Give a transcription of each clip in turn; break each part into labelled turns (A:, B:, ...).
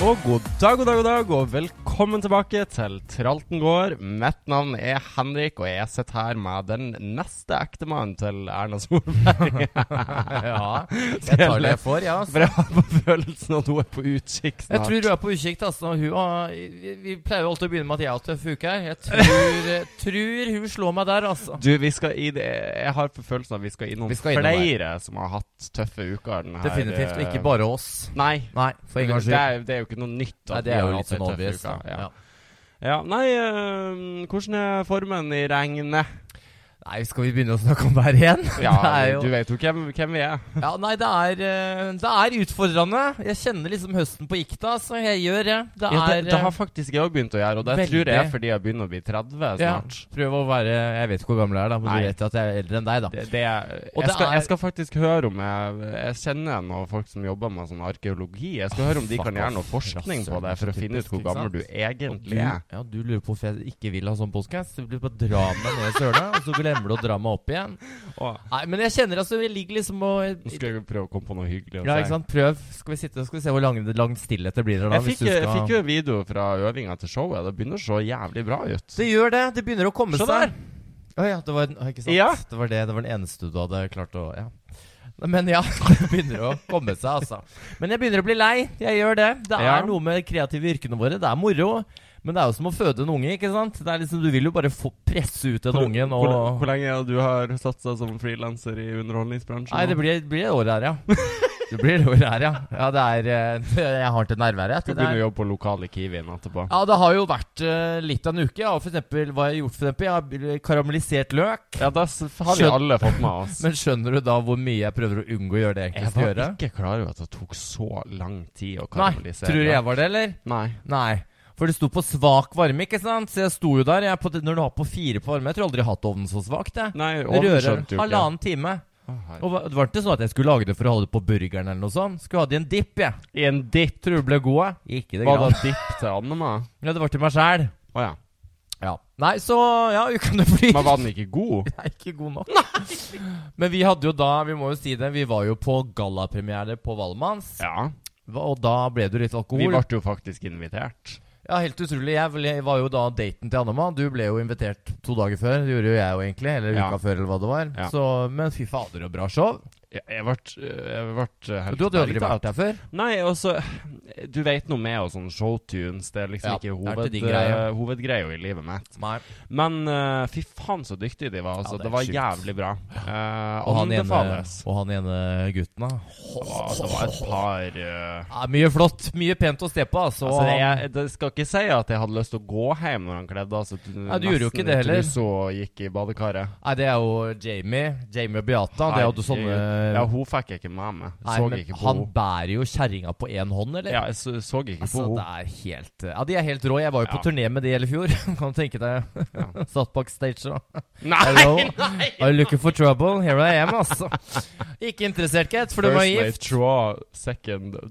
A: Og god dag, god dag, god dag, og velkommen tilbake til Tralten gård. Mitt navn er Henrik, og jeg sitter her med den neste ektemannen til Erna Solberg.
B: Ja, jeg tar det jeg får, ja.
A: For jeg har på følelsen at hun er på utkikk
B: Jeg
A: snart.
B: tror du er på ukikk. Altså, når hun har, vi, vi pleier jo alltid å begynne med at jeg har tøff uke her. Jeg tror, eh, tror hun slår meg der, altså.
A: Du, vi skal i det. Jeg har på følelsen at vi skal innom
B: Vi skal innom
A: flere som har hatt tøffe uker den her.
B: Definitivt. Og
A: eh,
B: ikke bare oss.
A: Nei.
B: Nei, for en gangs
A: Det
B: skyld.
A: er, det er jo ikke noe nytt. at
B: Nei,
A: vi
B: det er
A: har
B: jo
A: hatt
B: litt sånn
A: en tøff
B: obvious.
A: uke, Ja.
B: Ja.
A: Ja, nei, eh, hvordan er formen i regnet?
B: Nei, skal vi begynne å snakke om hver igjen?
A: Ja,
B: det er jo,
A: du vet jo hvem, hvem vi er.
B: ja, nei, det er, eh, det er utfordrende. Jeg kjenner liksom høsten på ikta, så jeg gjør det. Det
A: ja,
B: er
A: det, det
B: eh,
A: har faktisk jeg òg begynt å gjøre, og det
B: veldig-
A: tror jeg er fordi jeg begynner å bli 30
B: Ja.
A: snart.
B: Prøv å være Jeg vet ikke hvor gammel jeg er, da, men
A: Nei.
B: du vet jo at jeg er eldre enn deg, da.
A: Det, det, jeg,
B: Og det
A: skal,
B: er-
A: jeg skal faktisk høre om jeg, jeg kjenner noen folk som jobber med sånn arkeologi. Jeg skal
B: Åh,
A: høre om de
B: fuck
A: kan gjøre noe
B: off.
A: forskning på det for å
B: Rasshøl,
A: finne ut hvor
B: ikke
A: gammel du
B: sant? Og du,
A: egentlig
B: ja,
A: er.
B: du lurer på hvorfor jeg ikke vil ha sånn podcast. Du vil bare dra meg ned i søla, og så glemmer du å dra meg opp igjen.
A: Åh,
B: Nei, men jeg kjenner altså Jeg ligger liksom og
A: Nå skal jeg prøve å komme på noe hyggelig å
B: Ja,
A: si.
B: ikke sant. Prøv. Skal vi sitte skal vi se hvor lang, lang stillhet det blir her, da.
A: Jeg
B: hvis
A: fikk,
B: du
A: jeg
B: skal-
A: fikk jo en video fra øvinga til showet. Det begynner å se jævlig bra ut.
B: Det gjør det. Det begynner å komme
A: Se
B: seg.
A: der!
B: Å ja, det var, den- å, ikke sant?
A: Sånn Ja.
B: Det var det Det var den eneste du hadde klart å Ja. Men ja, det begynner å komme seg, altså. Men jeg begynner å bli lei. Jeg gjør det. Det er
A: Ja.
B: noe med de kreative yrkene våre. Det er moro. Men det er jo som å føde en unge, ikke sant? Det er liksom, du vil jo bare få presse ut den ungen
A: Hvor,
B: og
A: hvor lenge har du har satsa som frilanser i underholdningsbransjen?
B: Nei, det blir, blir et år her, ja. Det blir et år her, ja. Ja, det er eh, Jeg har til nerver, jeg.
A: Du
B: Det er-
A: begynner å jobbe på lokale Kiwien etterpå.
B: Ja, det har jo vært eh, litt av en uke. Ja. Og For eksempel, hva har jeg gjort? For eksempel, jeg har karamellisert løk.
A: Ja, da s- har vi
B: Skjøn-
A: alle fått med oss.
B: Men skjønner du da hvor mye jeg prøver å unngå å gjøre det jeg egentlig
A: Jeg
B: skal
A: var
B: gjøre?
A: ikke klar over at det tok så lang tid å
B: Nei,
A: karamellisere.
B: tror du jeg var det, eller?
A: Nei.
B: Nei. For det sto på svak varme, ikke sant? Så jeg sto jo der. Jeg er på, når du har på fire på varme Jeg tror aldri jeg har hatt ovnen så svakt, jeg.
A: Nei, ovnen
B: Rører
A: skjønte jo ikke.
B: halvannen time.
A: Å,
B: Og hva- det var ikke sånn at jeg skulle lage det for å holde det på burgeren eller noe sånt. Skulle ha det i en dipp, jeg.
A: herre. I en dipp.
B: Tror du det ble god, jeg? Ikke det
A: Var
B: grann.
A: det dipp til Annema?
B: Ja, det var til meg sjæl.
A: Å ja.
B: Ja. Nei, så ja, ukene flyr.
A: Men var den ikke god?
B: Jeg er ikke god nok. Men vi hadde jo da, vi må jo si det, vi var jo på gallapremiere på Valmanns.
A: Ja.
B: Hva- Og da ble det jo litt
A: Vi
B: alkohol.
A: ble jo faktisk invitert.
B: Ja, helt utrolig. Jeg ble- jeg var jo da daten til Annema. Du ble jo invitert to dager før. Det gjorde jo jeg jo egentlig. Eller
A: Ja.
B: uka før, eller hva det var.
A: Ja.
B: Så, men fy fader, og bra show.
A: Jeg jeg ble, jeg ble helt
B: Du hadde jo aldri
A: bergtatt.
B: vært der før.
A: Nei, altså Du vet noe med oss, sånn showtunes. Det er liksom
B: Ja,
A: ikke
B: det er
A: hoved,
B: ikke din greie.
A: eh, hovedgreia i livet mitt.
B: Nei.
A: Men eh, fy faen, så dyktige de var.
B: Ja,
A: Altså.
B: det er
A: det, var
B: sjukt.
A: jævlig bra. Eh,
B: Og han ene,
A: anbefales.
B: og han ene gutten, da.
A: Det var- det var et par eh,
B: Ja, mye flott. Mye pent å se på, altså.
A: Altså, det, jeg, det skal ikke si at jeg hadde lyst til å gå hjem når han kledde av seg.
B: Nei, du gjorde jo ikke det heller.
A: Så gikk i badekaret.
B: Nei, det er jo Jamie. Jamie og Beata. Det er jo sånne
A: Ja, hun fikk jeg ikke med meg.
B: Eh. Nei,
A: så
B: men
A: ikke på
B: han
A: henne.
B: bærer jo kjerringa på én hånd, eller?
A: Ja, jeg så, så ikke
B: Altså,
A: på
B: det
A: henne.
B: er helt Ja, de er helt rå. Jeg var jo på
A: Ja.
B: turné med de hele fjor. Kan du tenke deg.
A: Ja.
B: Satt bak stage og
A: Nei!
B: Hello, are you looking for trouble? Here I am, altså. Ikke interessert, Kate, for det var
A: First
B: gift.
A: mate, draw, second uh,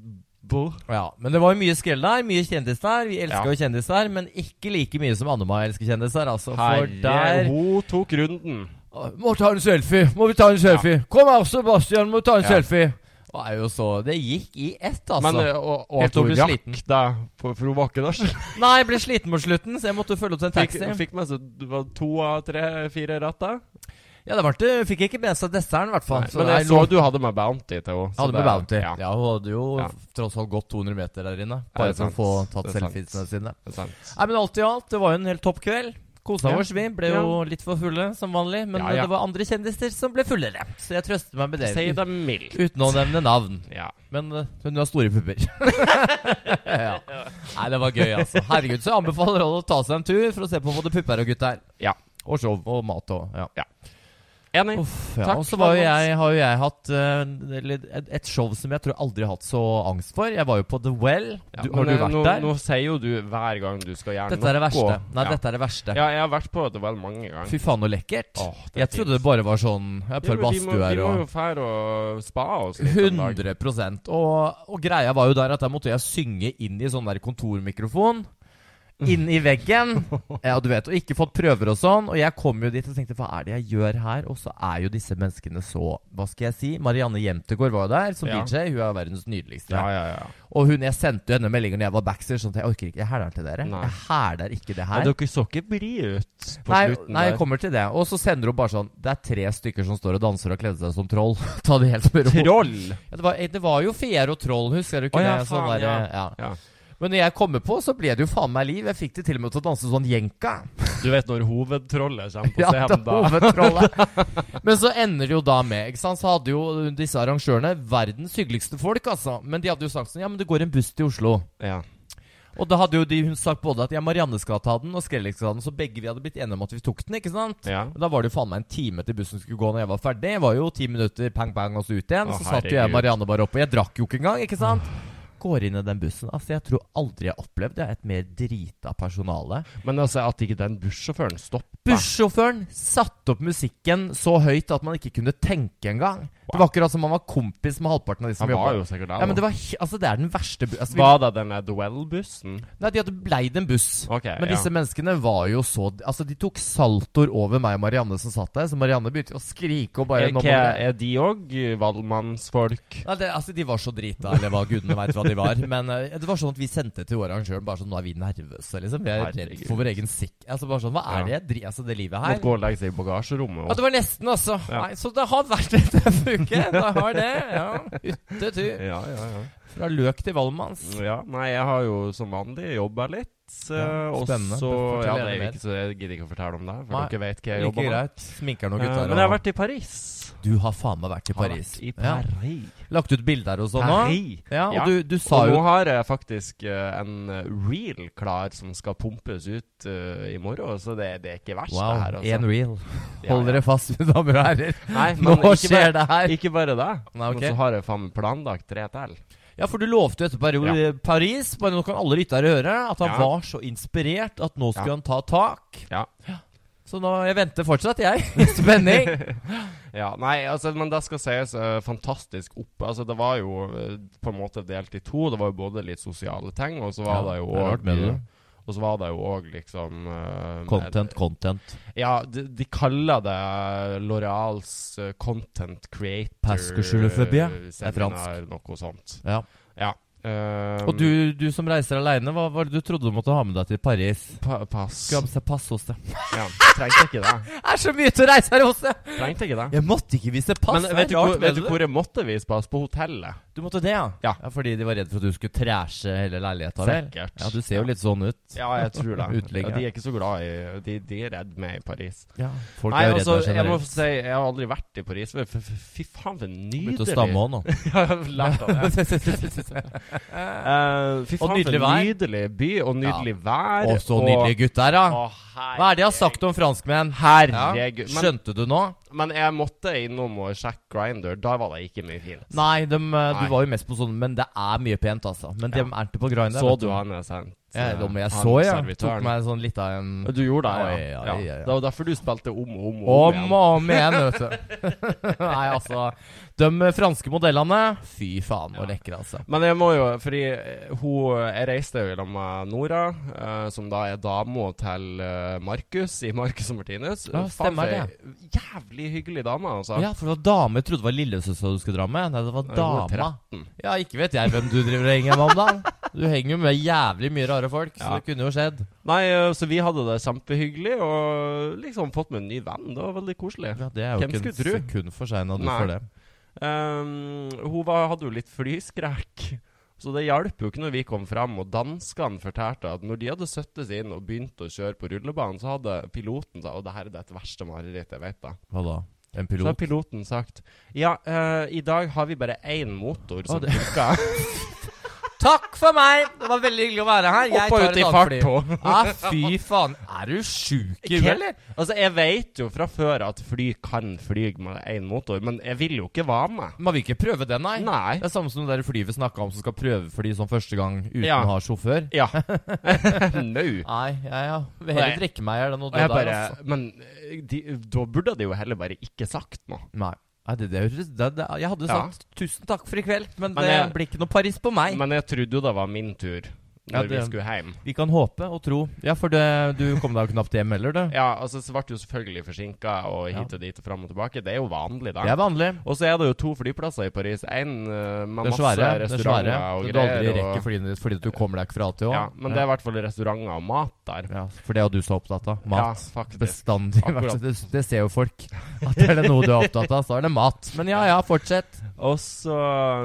A: bull.
B: Ja, men det var jo mye skrell der. Mye kjendis der. Vi elsker
A: Ja.
B: jo kjendis der, men ikke like mye som Annema elsker kjendis der, altså. For
A: Herre,
B: der
A: hun tok runden.
B: Å, Må ta en selfie! Må vi ta en selfie? Kom her, Sebastian, må ta en
A: Ja.
B: selfie! Det er jo så Det gikk i ett, altså.
A: Men eh, og, og
B: Helt
A: at hun
B: til hun ble sliten.
A: rakk deg, for, for hun var ikke der.
B: Nei, jeg ble sliten mot slutten, så jeg måtte følge opp til en
A: Fikk,
B: taxi.
A: fikk med seg det var to av tre, fire retter.
B: Ja, det var ikke, fikk ikke med seg desserten, i hvert fall.
A: Nei, Men jeg
B: det
A: så
B: lå-
A: du hadde med Bounty til henne. så
B: hadde med
A: det-
B: Bounty. Ja.
A: Ja,
B: hun hadde jo
A: Ja.
B: tross alt gått 200 meter der inne.
A: Ja, det
B: Bare
A: er
B: for å få
A: sant.
B: tatt
A: Det er sant.
B: selfiesene sine.
A: det er sant.
B: Nei, men alt i alt, det var jo en helt topp kveld. Kosa
A: Ja.
B: oss, vi. Ble jo litt for fulle, som vanlig. Men
A: Ja, ja.
B: det var andre kjendiser som ble fullere. Så jeg trøster meg med det.
A: Si det mildt.
B: Uten å nevne navn.
A: Ja.
B: Men eh, hun har store pupper. ja. Nei, det var gøy, altså. Herregud, så jeg anbefaler alle å ta seg en tur for å se på både pupper og gutter.
A: Ja.
B: Og show og mat og ja.
A: Enig.
B: Uff, ja.
A: Takk,
B: og så var jo
A: Valmans.
B: jeg, har jo jeg hatt eh, eller et- et show som jeg tror jeg aldri har hatt så angst for. Jeg var jo på The Well.
A: Ja,
B: Du,
A: men,
B: har du
A: eh,
B: vært
A: nå,
B: der?
A: Nå sier jo du hver gang du skal gjøre
B: dette er det verste. Nei,
A: ja.
B: dette er det verste.
A: Ja, jeg har vært på det vel mange ganger.
B: Fy faen, så lekkert.
A: Åh, det er
B: jeg trodde det bare var sånn ja, Et
A: Ja,
B: par
A: men vi må-
B: badstuer
A: Vi må jo
B: og
A: fære og spa oss litt en dag.
B: 100 og, og greia var jo der at der måtte jeg synge inn i sånn der kontormikrofon. inn i veggen. Eh, og du vet, og ikke fått prøver og sånn. Og jeg kom jo dit og tenkte hva er det jeg gjør her? Og så er jo disse menneskene så Hva skal jeg si? Marianne Jentegård var jo der som
A: Ja.
B: DJ. Hun er verdens nydeligste.
A: Ja, ja, ja.
B: Og hun, jeg sendte jo henne meldinger når jeg var backstage. Sånn at jeg orker ikke, jeg hæler den til dere.
A: Nei.
B: Jeg hæler ikke det
A: Og
B: her.
A: dere så ikke bri ut på
B: Nei,
A: slutten
B: nei, jeg
A: der.
B: kommer til det. Og så sender hun bare sånn Det er tre stykker som står og danser og kledde seg som troll. Ta det helt med ro.
A: Troll!
B: Ja, det, var, det var jo fier og troll, husker du
A: Å
B: ikke
A: ja,
B: det? Sånn
A: faen,
B: der,
A: ja.
B: ja. Men når jeg kommer på, så ble det jo faen meg liv. Jeg fikk det til og med til å danse sånn jenka.
A: Du vet når hovedtrollet kommer på
B: Ja, det
A: scenen,
B: er
A: da.
B: hovedtrollet. Men så ender det jo da med ikke sant? Så hadde jo disse arrangørene verdens hyggeligste folk, altså. Men de hadde jo sagt sånn Ja, men det går en buss til Oslo.
A: Ja.
B: Og da hadde jo de hun sagt både at ja, Marianne skal ta den, og Skrellex skal ta den. Så begge vi hadde blitt enige om at vi tok den, ikke sant?
A: Ja.
B: Og Da var det jo faen meg en time til bussen skulle gå når jeg var ferdig. Det var jo ti minutter, pang, pang, og så ut igjen.
A: Å,
B: så satt jo jeg
A: herregud.
B: og Marianne bare oppe. Jeg drakk jo ikke engang, ikke sant? Går inn i den bussen. Altså, jeg tror aldri jeg har opplevd det. er Et mer drita personale.
A: Men altså, at ikke den bussjåføren stoppa
B: Bussjåføren satte opp musikken så høyt at man ikke kunne tenke engang. Det var akkurat som man var kompis med halvparten av de som
A: Han var
B: jobba.
A: jo sikkert der.
B: Ja, men det
A: da.
B: var he- Altså, det er den verste bu altså, vi-
A: Var det den der Duell-bussen?
B: Nei, de hadde bleid en buss.
A: Ok,
B: Men disse menneskene var jo så Altså, de tok saltoer over meg og Marianne som satt der. Så Marianne begynte å skrike og
A: ja.
B: bare
A: Er,
B: nå må
A: hva,
B: dere-
A: er de òg valgmannsfolk?
B: Nei, det, altså, De var så drita, eller hva gudene veit hva de var. Men eh, det var sånn at vi sendte til arrangøren bare sånn Nå er vi nervøse, liksom. Vi er redd
A: Herregud.
B: for vår egen sikk... Altså bare sånn Hva er det jeg driver Altså, det livet
A: Måtte
B: her
A: gå og legge seg i bagasjerommet.
B: ja,
A: Og...
B: det var nesten, altså.
A: Ja.
B: Nei, så det har vært en tøff uke. Det har det. ja Ute tur.
A: Ja, ja, ja.
B: Fra løk til Valmanns.
A: Ja, nei, jeg har jo som vanlig jobba litt.
B: Ja,
A: eh, og
B: spennende.
A: så
B: Fortell
A: Ja, det
B: gjerne
A: er
B: mer.
A: jo ikke så jeg gidder ikke å fortelle om det, for
B: Nei,
A: dere vet hva jeg
B: Like
A: jobber med.
B: greit. Sminker'n og
A: Eh,
B: gutta.
A: men jeg har vært i Paris.
B: Du har faen meg vært i Paris.
A: Har vært i
B: Ja.
A: Paris.
B: Lagt ut bilder og sånn òg.
A: Paris.
B: Ja, og
A: Ja.
B: Du, du sa
A: Og
B: jo
A: nå har jeg faktisk eh, en reel klar som skal pumpes ut eh, i morgen, så det, det er ikke verst,
B: Wow,
A: det her. altså.
B: én reel.
A: Ja,
B: Hold dere fast, mine damer og herrer.
A: Nei, men
B: Nå
A: ikke
B: skjer
A: bare,
B: det her!
A: Ikke bare det,
B: Nei, ok.
A: men så har jeg faen meg planlagt tre til.
B: Ja, for du lovte jo etter Pari Paris, bare nå kan alle lyttere høre, at han
A: Ja.
B: var så inspirert at nå skulle han ta tak.
A: Ja.
B: Så nå, jeg venter fortsatt, jeg. I spenning.
A: Ja, nei, altså, men det skal sies eh, fantastisk opp. Altså, det var jo eh, på en måte delt i to. Det var jo både litt sosiale ting, og så var
B: Ja,
A: det jo
B: det er rart med det.
A: Og så var det jo òg liksom eh,
B: Content, content.
A: Ja, de, de kaller det Loreals eh, content creator
B: Parce que je le fais bien.
A: eh,
B: Det er fransk.
A: seminar, Noe sånt.
B: Ja.
A: Ja. eh,
B: Og du, du som reiser aleine, hva var det du trodde du måtte ha med deg til Paris?
A: pa Pass.
B: Skal ha med seg pass hos deg.
A: Ja, trengte ikke det.
B: Det er så mye til å reise her hos deg!
A: Trengte ikke det.
B: Jeg måtte ikke vise pass.
A: Men
B: det er
A: vet du, hvor,
B: rart med
A: vet du
B: det.
A: hvor jeg måtte vise pass? På hotellet.
B: Du måtte det, ja?
A: Ja.
B: Fordi de var redd for at du skulle trashe hele leiligheta, vel?
A: Sikkert.
B: Ja, du ser jo litt sånn ut.
A: Ja, jeg tror det.
B: Uteligger.
A: Ja, de er ikke så glad i De, de er redd meg i Paris.
B: Ja. Folk
A: Nei,
B: er jo redd
A: altså,
B: for
A: jeg må
B: generelt.
A: si Jeg har aldri vært i Paris. men f- f- Fy faen, for nydelig
B: Begynte å stamme òg nå.
A: Ja, jeg har lært av det. Eh, fy faen,
B: Og
A: for
B: nydelig vær.
A: nydelig by, og nydelig vær.
B: Og så nydelige gutter, da.
A: Å,
B: Hva er det jeg har sagt om franskmenn?
A: Herregud.
B: Ja.
A: Men,
B: Skjønte du nå?
A: men jeg måtte innom og sjekke Grinder. Da var det ikke mye fint.
B: Nei, dem, eh,
A: Nei.
B: du var jo mest på sånn Men det er mye pent, altså. Men dem er ikke på grinder.
A: Så
B: vet
A: du han jeg sendte?
B: Ja,
A: eh,
B: dem jeg
A: han
B: så, ja. Tok
A: servitøren?
B: meg sånn litt av en
A: Du gjorde det, ja.
B: Oi, ja, ja, ja.
A: Det var derfor du spilte om og om, og om
B: Om
A: igjen.
B: og om igjen, vet du. Nei, altså. De franske modellene Fy faen, så lekre, altså.
A: Men jeg må jo, fordi eh, hun, jeg reiste jo sammen med Nora, eh, som da er dama til eh, Markus i Markus og Martinus.
B: Ja,
A: Faen,
B: stemmer
A: for ei Jævlig hyggelig dame, altså.
B: Ja, for det var dame. Jeg trodde det var lillesøster du skulle dra med. Nei, det var
A: Ja, hun er
B: dama.
A: 13.
B: Ja, ikke vet jeg hvem du driver og henger med om, da. Du henger jo med jævlig mye rare folk, så
A: Ja.
B: det kunne jo skjedd.
A: Nei, eh, så vi hadde det kjempehyggelig, og liksom fått med en ny venn. Det var veldig koselig.
B: Ja, det er jo
A: Hvem
B: ikke
A: skulle
B: en
A: tro?
B: sekund for sein at du
A: Nei.
B: får det.
A: Um, hun var, hadde jo litt flyskrekk. Så det hjalp jo ikke når vi kom fram og danskene fortalte at når de hadde sittet seg inn og begynt å kjøre på rullebanen, så hadde piloten sagt Og det her er det verste marerittet jeg vet, da.
B: Hva da? En
A: Så har
B: pilot?
A: piloten sagt Ja, eh, i dag har vi bare én motor som
B: det-
A: funker.
B: Takk for meg! Det var veldig hyggelig å være her.
A: Opp og ut i fart på.
B: Ah, fy faen. Er du sjuk i huet?
A: Altså, jeg vet jo fra før at fly kan fly med én motor, men jeg vil jo ikke være med.
B: Man vil ikke prøve den, nei.
A: Nei.
B: Det er samme som det der flyet vi snakka om som skal prøvefly sånn første gang uten
A: Ja.
B: å ha sjåfør.
A: Ja. Nå.
B: Nei, ja, ja. Vil
A: Nei.
B: heller drikke meg i hjel enn noe
A: Og jeg
B: der,
A: bare
B: altså.
A: Men eh, de, da burde de jo heller bare ikke sagt noe.
B: Nei. Nei, det, det, høres- det, det, jeg hadde
A: Ja.
B: sagt 'tusen takk for i kveld', men,
A: Men
B: det
A: jeg-
B: blir ikke noe Paris på meg.
A: Men jeg trodde jo det var min tur. når
B: Ja, det-
A: vi skulle hjem.
B: Vi kan håpe og tro. Ja, for det, du kom deg jo knapt hjem heller, du.
A: Ja, altså så ble det jo selvfølgelig forsinka og hit
B: Ja.
A: og dit og fram og tilbake. Det er jo vanlig, da.
B: Det er vanlig.
A: Og så er det jo to flyplasser i Paris. Én med
B: Det er
A: masse
B: svære. Det er
A: restauranter
B: svære.
A: og
B: Det du
A: greier.
B: aldri
A: og-
B: rekker fordi, fordi du kommer deg ikke fra A til Å.
A: ja, men det er i hvert fall restauranter og mat der.
B: ja, For det er jo du så opptatt av. Mat.
A: Ja, faktisk.
B: Bestandig.
A: Akkurat.
B: Det, det ser jo folk. At er det noe du er opptatt av, så er det mat. Men ja, ja, fortsett.
A: Og så,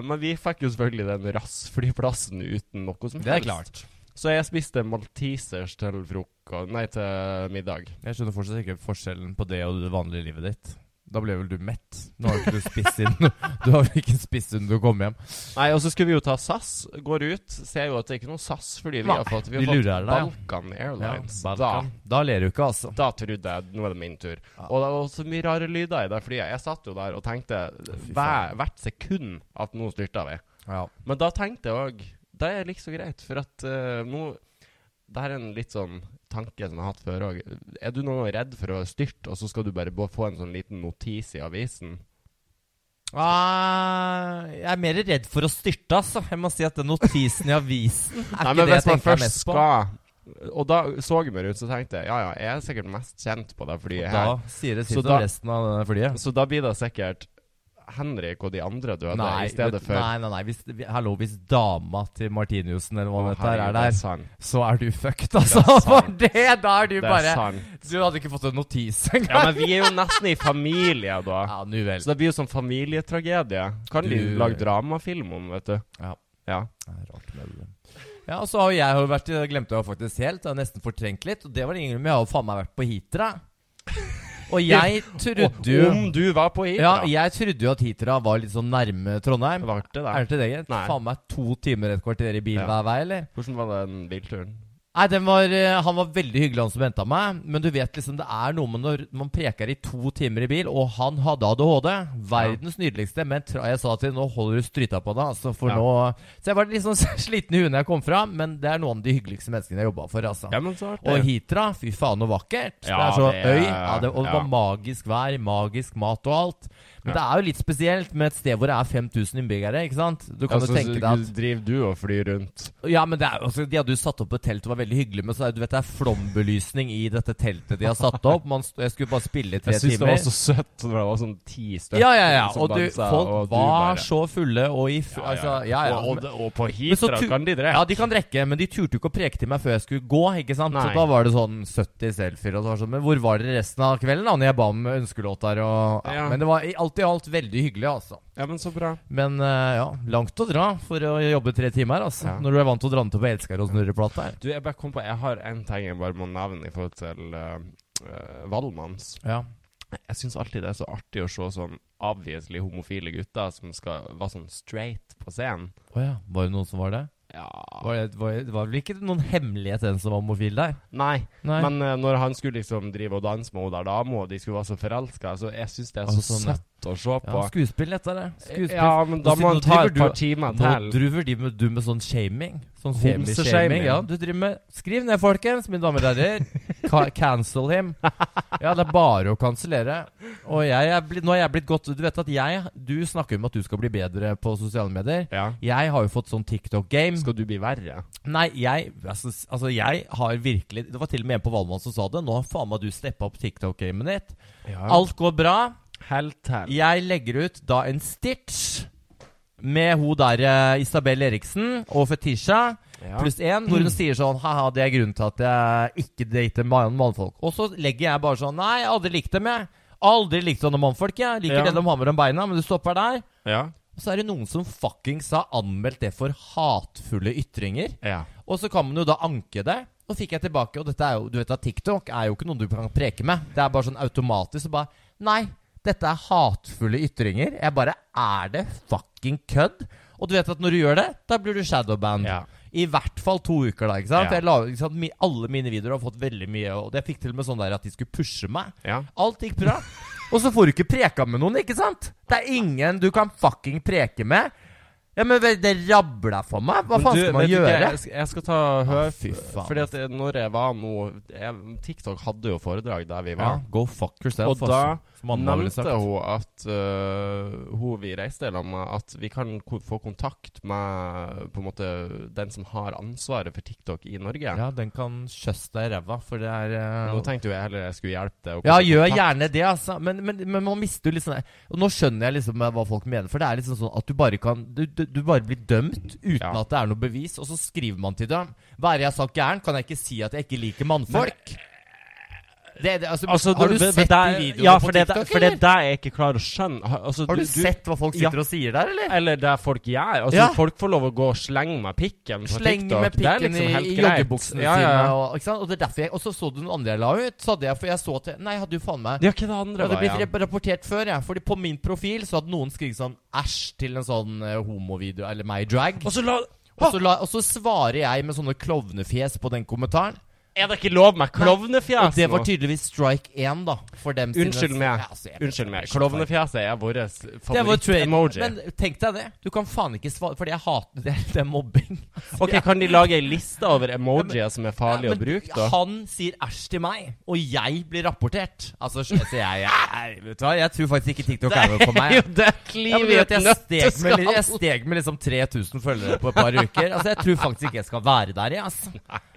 A: men vi fikk jo selvfølgelig den rassflyplassen uten noe som helst.
B: Det er klart.
A: Så jeg spiste maltesers til froko- Nei, til middag.
B: Jeg skjønner fortsatt ikke forskjellen på det og det vanlige livet ditt. Da ble vel du mett? Nå har jo ikke du spist siden Du har vel ikke spist siden du kom hjem.
A: Nei, og så skulle vi jo ta SAS. Går ut, ser jo at det er ikke noe SAS, fordi vi
B: Nei,
A: har fått, vi
B: vi
A: har fått
B: lurer deg, ja.
A: Balkan
B: Ja,
A: Airlines.
B: Balkan. da ler du ikke, altså.
A: Da, da trodde jeg nå er det min tur.
B: Ja.
A: Og det var så mye rare lyder i det flyet. Jeg satt jo der og tenkte
B: fy
A: hver,
B: faen.
A: hvert sekund at nå styrta vi.
B: Ja.
A: Men da tenkte jeg òg Det er like så greit, for at eh, nå Det her er en litt sånn tanke som jeg har hatt før òg. Er du noen gang redd for å styrte, og så skal du bare bo- få en sånn liten notis i avisen?
B: Ah, jeg er mer redd for å styrte, altså. Jeg må si at den notisen i avisen er
A: Nei,
B: ikke
A: men
B: det jeg
A: hvis man
B: tenker
A: først
B: mest på.
A: skal Og da så jeg meg rundt, så tenkte jeg ja ja, jeg er sikkert mest kjent på det flyet
B: Da
A: her.
B: sier det
A: Så
B: sitt om
A: da-
B: resten av det flyet.
A: Så da blir det sikkert Henrik og de andre døde i stedet
B: vet-
A: for
B: nei, nei, nei. Hvis, vi- hallo, hvis dama til Martiniussen eller hva
A: Å,
B: det heter
A: herregud,
B: er
A: det
B: der,
A: sant.
B: så er du fucked, altså.
A: Det er sant.
B: For det, da er du
A: Det er
B: bare
A: sant.
B: Du hadde ikke fått en notis
A: Ja,
B: engang.
A: men vi er jo nesten i familie, da.
B: Ja, nu vel.
A: Så det blir jo sånn familietragedie. Kan de
B: Du-
A: lage dramafilm om, vet du?
B: Ja.
A: ja.
B: Det er Rart med det. Ja, og så har jo jeg jo vært jeg glemte jeg faktisk helt. Jeg har nesten fortrengt litt. Og det var det ingen grunn til. Jeg har jo faen meg vært på Hitra. Og jeg trodde jo
A: Om du var på hit,
B: Ja,
A: da.
B: jeg trodde jo at Hitra var litt sånn nærme Trondheim.
A: Var det
B: Er
A: det?
B: det til deg?
A: Nei.
B: Faen meg to timer, et kvarter i bil
A: Ja.
B: hver vei, eller?
A: Hvordan var den bilturen?
B: Nei, den var, eh, Han var veldig hyggelig, han som henta meg. Men du vet liksom, det er noe med når man preker i to timer i bil, og han hadde ADHD. Verdens nydeligste. Men tra jeg sa til ham nå holder du stryta på deg. Altså, for
A: Ja.
B: nå Så jeg var litt sånn sliten i huet når jeg kom fram, men det er noen av de hyggeligste menneskene jeg jobba for. altså
A: Ja, men så artig.
B: og Hitra, fy faen så vakkert. det
A: Ja,
B: er så
A: det er-
B: øy. Ja, det, og det
A: ja.
B: var magisk vær, magisk mat og alt. Men
A: Ja.
B: det er jo litt spesielt med et sted hvor det er 5000 innbyggere. ikke sant? Du kan
A: Ja, så
B: jo tenke deg at
A: driver du og flyr rundt.
B: Ja, men det er jo også, De hadde jo satt opp et telt, det var veldig hyggelig, men så er det- du vet, det er flombelysning i dette teltet de har satt opp. Man, st- jeg skulle bare spille i tre
A: Jeg syns det
B: timer.
A: var så søtt når det var sånn ti stykker
B: ja, ja, ja.
A: som
B: Og du,
A: dansa,
B: folk
A: og du
B: var
A: bare-
B: så fulle og i fu- altså, ja, ja.
A: Og, og, og på
B: Men så
A: Hitra
B: tu-
A: kan de drepe.
B: Ja, de kan drikke, men de turte jo ikke å preke til meg før jeg skulle gå. ikke sant?
A: Nei.
B: Så da var det sånn 70 selfier. og så var det sånn, Men hvor var dere resten av kvelden? da, når jeg ba om ønskelåter og ja.
A: Ja.
B: Men det var i- alt i alt veldig hyggelig, altså.
A: Ja, men så bra.
B: Men eh, ja, langt å dra for å jobbe tre timer, altså.
A: Ja.
B: Når du er vant til å dra den til på elsker og snurreplate.
A: Du, jeg bare kom på Jeg har en ting jeg bare må nevne i forhold til uh, Valmanns.
B: Ja.
A: Jeg syns alltid det er så artig å se sånn obviously homofile gutter som skal være sånn straight på scenen.
B: Å ja. Var det noen som var det?
A: Ja
B: Var det, var det var vel ikke noen hemmelighet den som var homofil der?
A: Nei,
B: Nei.
A: men eh, når han skulle liksom drive og danse med hun der dama, og de skulle være så forelska, så jeg syns det er så
B: Altså, sånn, ja.
A: søtt å se
B: ja,
A: på.
B: skuespill, dette er det. Skuespill.
A: Ja, men da
B: Og
A: må
B: siden
A: han
B: nå
A: ta et
B: driver
A: par
B: du-
A: timer
B: Nå
A: til.
B: driver de med, du med sånn shaming. Sånn
A: Homseshaming.
B: femi-shaming. Ja, du driver med Skriv ned, folkens, mine damer og herrer. Ka cancel him. Ja, det er bare å kansellere. Og jeg er blitt, nå er jeg blitt godt Du vet at jeg Du snakker om at du skal bli bedre på sosiale medier.
A: Ja.
B: Jeg har jo fått sånn TikTok-game.
A: Skal du bli verre?
B: Nei, jeg altså, s- altså, jeg har virkelig Det var til og med en på Valmann som sa det. Nå har faen meg du steppa opp TikTok-gamet ditt.
A: Ja.
B: Alt går bra.
A: Helt til.
B: Jeg legger ut da en stitch med hun der eh, Isabel Eriksen og Fetisha
A: Ja.
B: pluss én, hvor hun sier sånn Haha, det er grunnen til at jeg ikke dater mann mannfolk. Og så legger jeg bare sånn Nei, jeg har aldri likt dem, jeg. Aldri likt sånne mannfolk. Jeg liker
A: Ja.
B: det de har mellom beina, men du stopper der.
A: Ja.
B: Og så er det noen som fuckings har anmeldt det for hatefulle ytringer.
A: ja.
B: Og så kan man jo da anke det. Og fikk jeg tilbake, og dette er jo, du vet at TikTok er jo ikke noe du kan preke med. Det er bare sånn automatisk. Så bare Nei, dette er hatefulle ytringer. Jeg bare Er det fucking kødd? Og du vet at når du gjør det, da blir du shadowband.
A: Ja.
B: I hvert fall to uker, da. ikke sant?
A: Ja.
B: For Jeg la, ikke sant? mi- Alle mine videoer har fått veldig mye, og jeg fikk til og med sånn der at de skulle pushe meg.
A: ja.
B: Alt gikk bra. Og så får du ikke preka med noen, ikke sant? Det er ingen du kan fucking preke med. Ja, men vel, det rabla for meg. Hva
A: Men
B: faen
A: du,
B: skal man
A: vet du hva,
B: gjøre?
A: Jeg, jeg skal ta hør,
B: Ah, fy faen. altså.
A: Fordi at eh, når jeg var nå jeg, TikTok hadde jo foredrag der vi
B: Ja,
A: var.
B: go fuck yourself.
A: og da
B: Mandag, ville sagt.
A: nevnte hun at eh, hun vi reiste sammen med, at vi kan ko få kontakt med på en måte den som har ansvaret for TikTok i Norge.
B: Ja, den kan kjøsse deg i ræva, for det er eh,
A: Nå tenkte jo jeg heller jeg skulle hjelpe deg. å
B: Ja,
A: komme i
B: gjør
A: kontakt.
B: gjerne det, altså. Men, men, men man mister jo litt sånn Og nå skjønner jeg liksom hva folk mener, for det er liksom sånn at du bare kan Du, du, du bare blir dømt uten
A: Ja.
B: at det er noe bevis, og så skriver man til dem. Hva er det jeg har sagt gæren? Kan jeg ikke si at jeg ikke liker mannfolk? Det, det, altså,
C: Altså,
B: har du
C: det- det-
B: sett
C: det er-
B: de videoene
C: ja, for
B: på
C: det,
B: TikTok,
C: For det er
B: eller?
C: der jeg ikke klarer å skjønne. Ha- Altså,
B: Har du, sett hva folk
C: ja.
B: sitter og sier der, eller?
A: Eller det folk gjør. Altså,
B: Ja.
A: Folk får lov å gå og slenge med pikken på
B: Sleng
A: TikTok.
B: med
A: Det er
B: pikken
A: liksom helt
B: i, i
A: greit.
B: joggebuksene
A: ja, ja.
B: sine. Og, ikke sant? og det er derfor jeg Og så så du noen andre jeg la ut. Så hadde jeg, for jeg så at jeg- Nei, jeg hadde jo faen meg
A: Ja, hva det andre
B: Det hadde
A: var,
B: blitt
A: ja.
B: rep- rapportert før, jeg. Fordi på min profil så hadde noen skrevet sånn æsj til en sånn eh, homovideo, eller meg i drag.
C: Og så la
B: Og så, la, og så svarer jeg med sånne klovnefjes på den kommentaren.
A: Er det ikke lov med
B: Og
A: klovnefjes
B: det var tydeligvis strike én, da. For dem sine-
A: Unnskyld meg.
B: Ja, altså, jeg-
A: Unnskyld meg.
B: jeg-
A: Klovnefjeset er vår
B: Det var trade.
A: favoritt-emoji.
B: Men tenk deg det. Du kan faen ikke svare Fordi jeg hater det. Det er mobbing.
A: Ok, Kan de lage ei liste over emojier som er farlige
B: Ja,
A: å bruke,
B: men
A: da?
B: Han sier æsj til meg, og jeg blir rapportert. Altså, skj- altså jeg, jeg, vet du hva? jeg tror faktisk ikke TikTok er noe for meg.
A: jo det er
B: Ja, men du vet, jeg, steg med,
A: nøtteskall.
B: jeg steg med liksom 3000 følgere på et par uker. Altså, Jeg tror faktisk ikke jeg skal være der, jeg. Altså.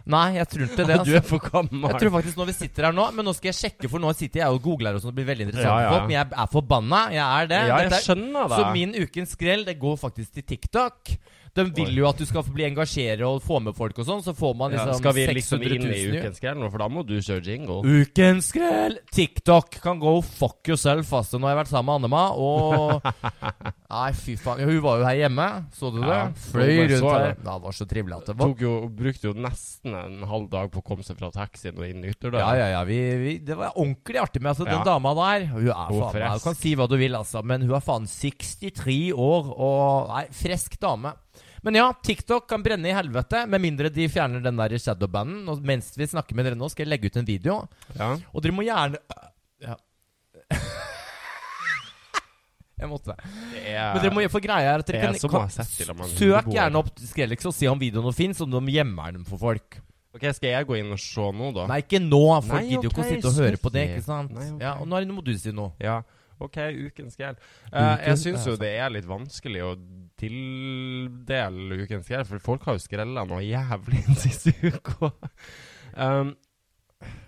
B: Nei, jeg tror ikke det.
A: Du
B: Altså.
A: er for gammel.
B: Jeg tror faktisk når vi sitter her nå Men nå skal jeg sjekke, for nå sitter jeg og googler og sånn. Det blir veldig interessant
A: Ja, ja.
B: for folk. Men jeg er forbanna. Jeg er det.
A: ja, jeg
B: Dette er-
A: skjønner det.
B: så min ukens skrell det går faktisk til TikTok. De vil jo at du skal bli engasjere og få med folk og sånn. Så får man liksom
A: ja, skal vi
B: 600
A: liksom
B: 000
A: inn i
B: jo.
A: ukens grell nå, for da må du kjøre jingle?
B: Ukens skrell! TikTok kan go fuck yourself, ass. Nå har jeg vært sammen med Annema, og Nei, fy faen. Hun var jo her hjemme, så du det?
A: Ja,
B: Fløy
A: jeg så
B: rundt her.
A: det.
B: Det var så trivelig at det var.
A: Tok jo, brukte jo nesten en halv dag på å komme seg fra taxien og inn
B: Ja,
A: ytterdøra.
B: ja, ja. Vi, vi, det var ordentlig artig med altså, den
A: Ja.
B: dama der. Hun er
A: Hun
B: faen meg
A: fresk.
B: Du kan si hva du vil, altså, men hun er faen 63 år og Nei, fresk dame. Men ja, TikTok kan brenne i helvete, med mindre de fjerner den der shadowbanden. Og mens vi snakker med dere nå, skal jeg legge ut en video.
A: Ja.
B: Og dere må gjerne øh, ja. Jeg måtte det.
A: Det
B: Men dere må få greia er at
A: Det
B: dere
A: er
B: kan,
A: som å ha
B: kan
A: sett til om man
B: Søk
A: bor.
B: gjerne opp Skrellex og se om videoene fins, om de gjemmer dem for folk.
A: Ok, Skal jeg gå inn og se nå, da?
B: Nei, ikke nå. Folk
A: Nei,
B: gidder jo ikke å
A: ok,
B: sitte og høre på det.
A: sorry.
B: ikke sant?
A: Nei, ok.
B: Ja, og nå, er det- nå må du si noe.
A: Ja, ok, ukens altså. gjeld.
B: Ukens-
A: jeg syns jo
B: ja,
A: det er litt vanskelig å tildele ukens gjeld, for folk har jo skrella noe jævlig den siste uka. Um,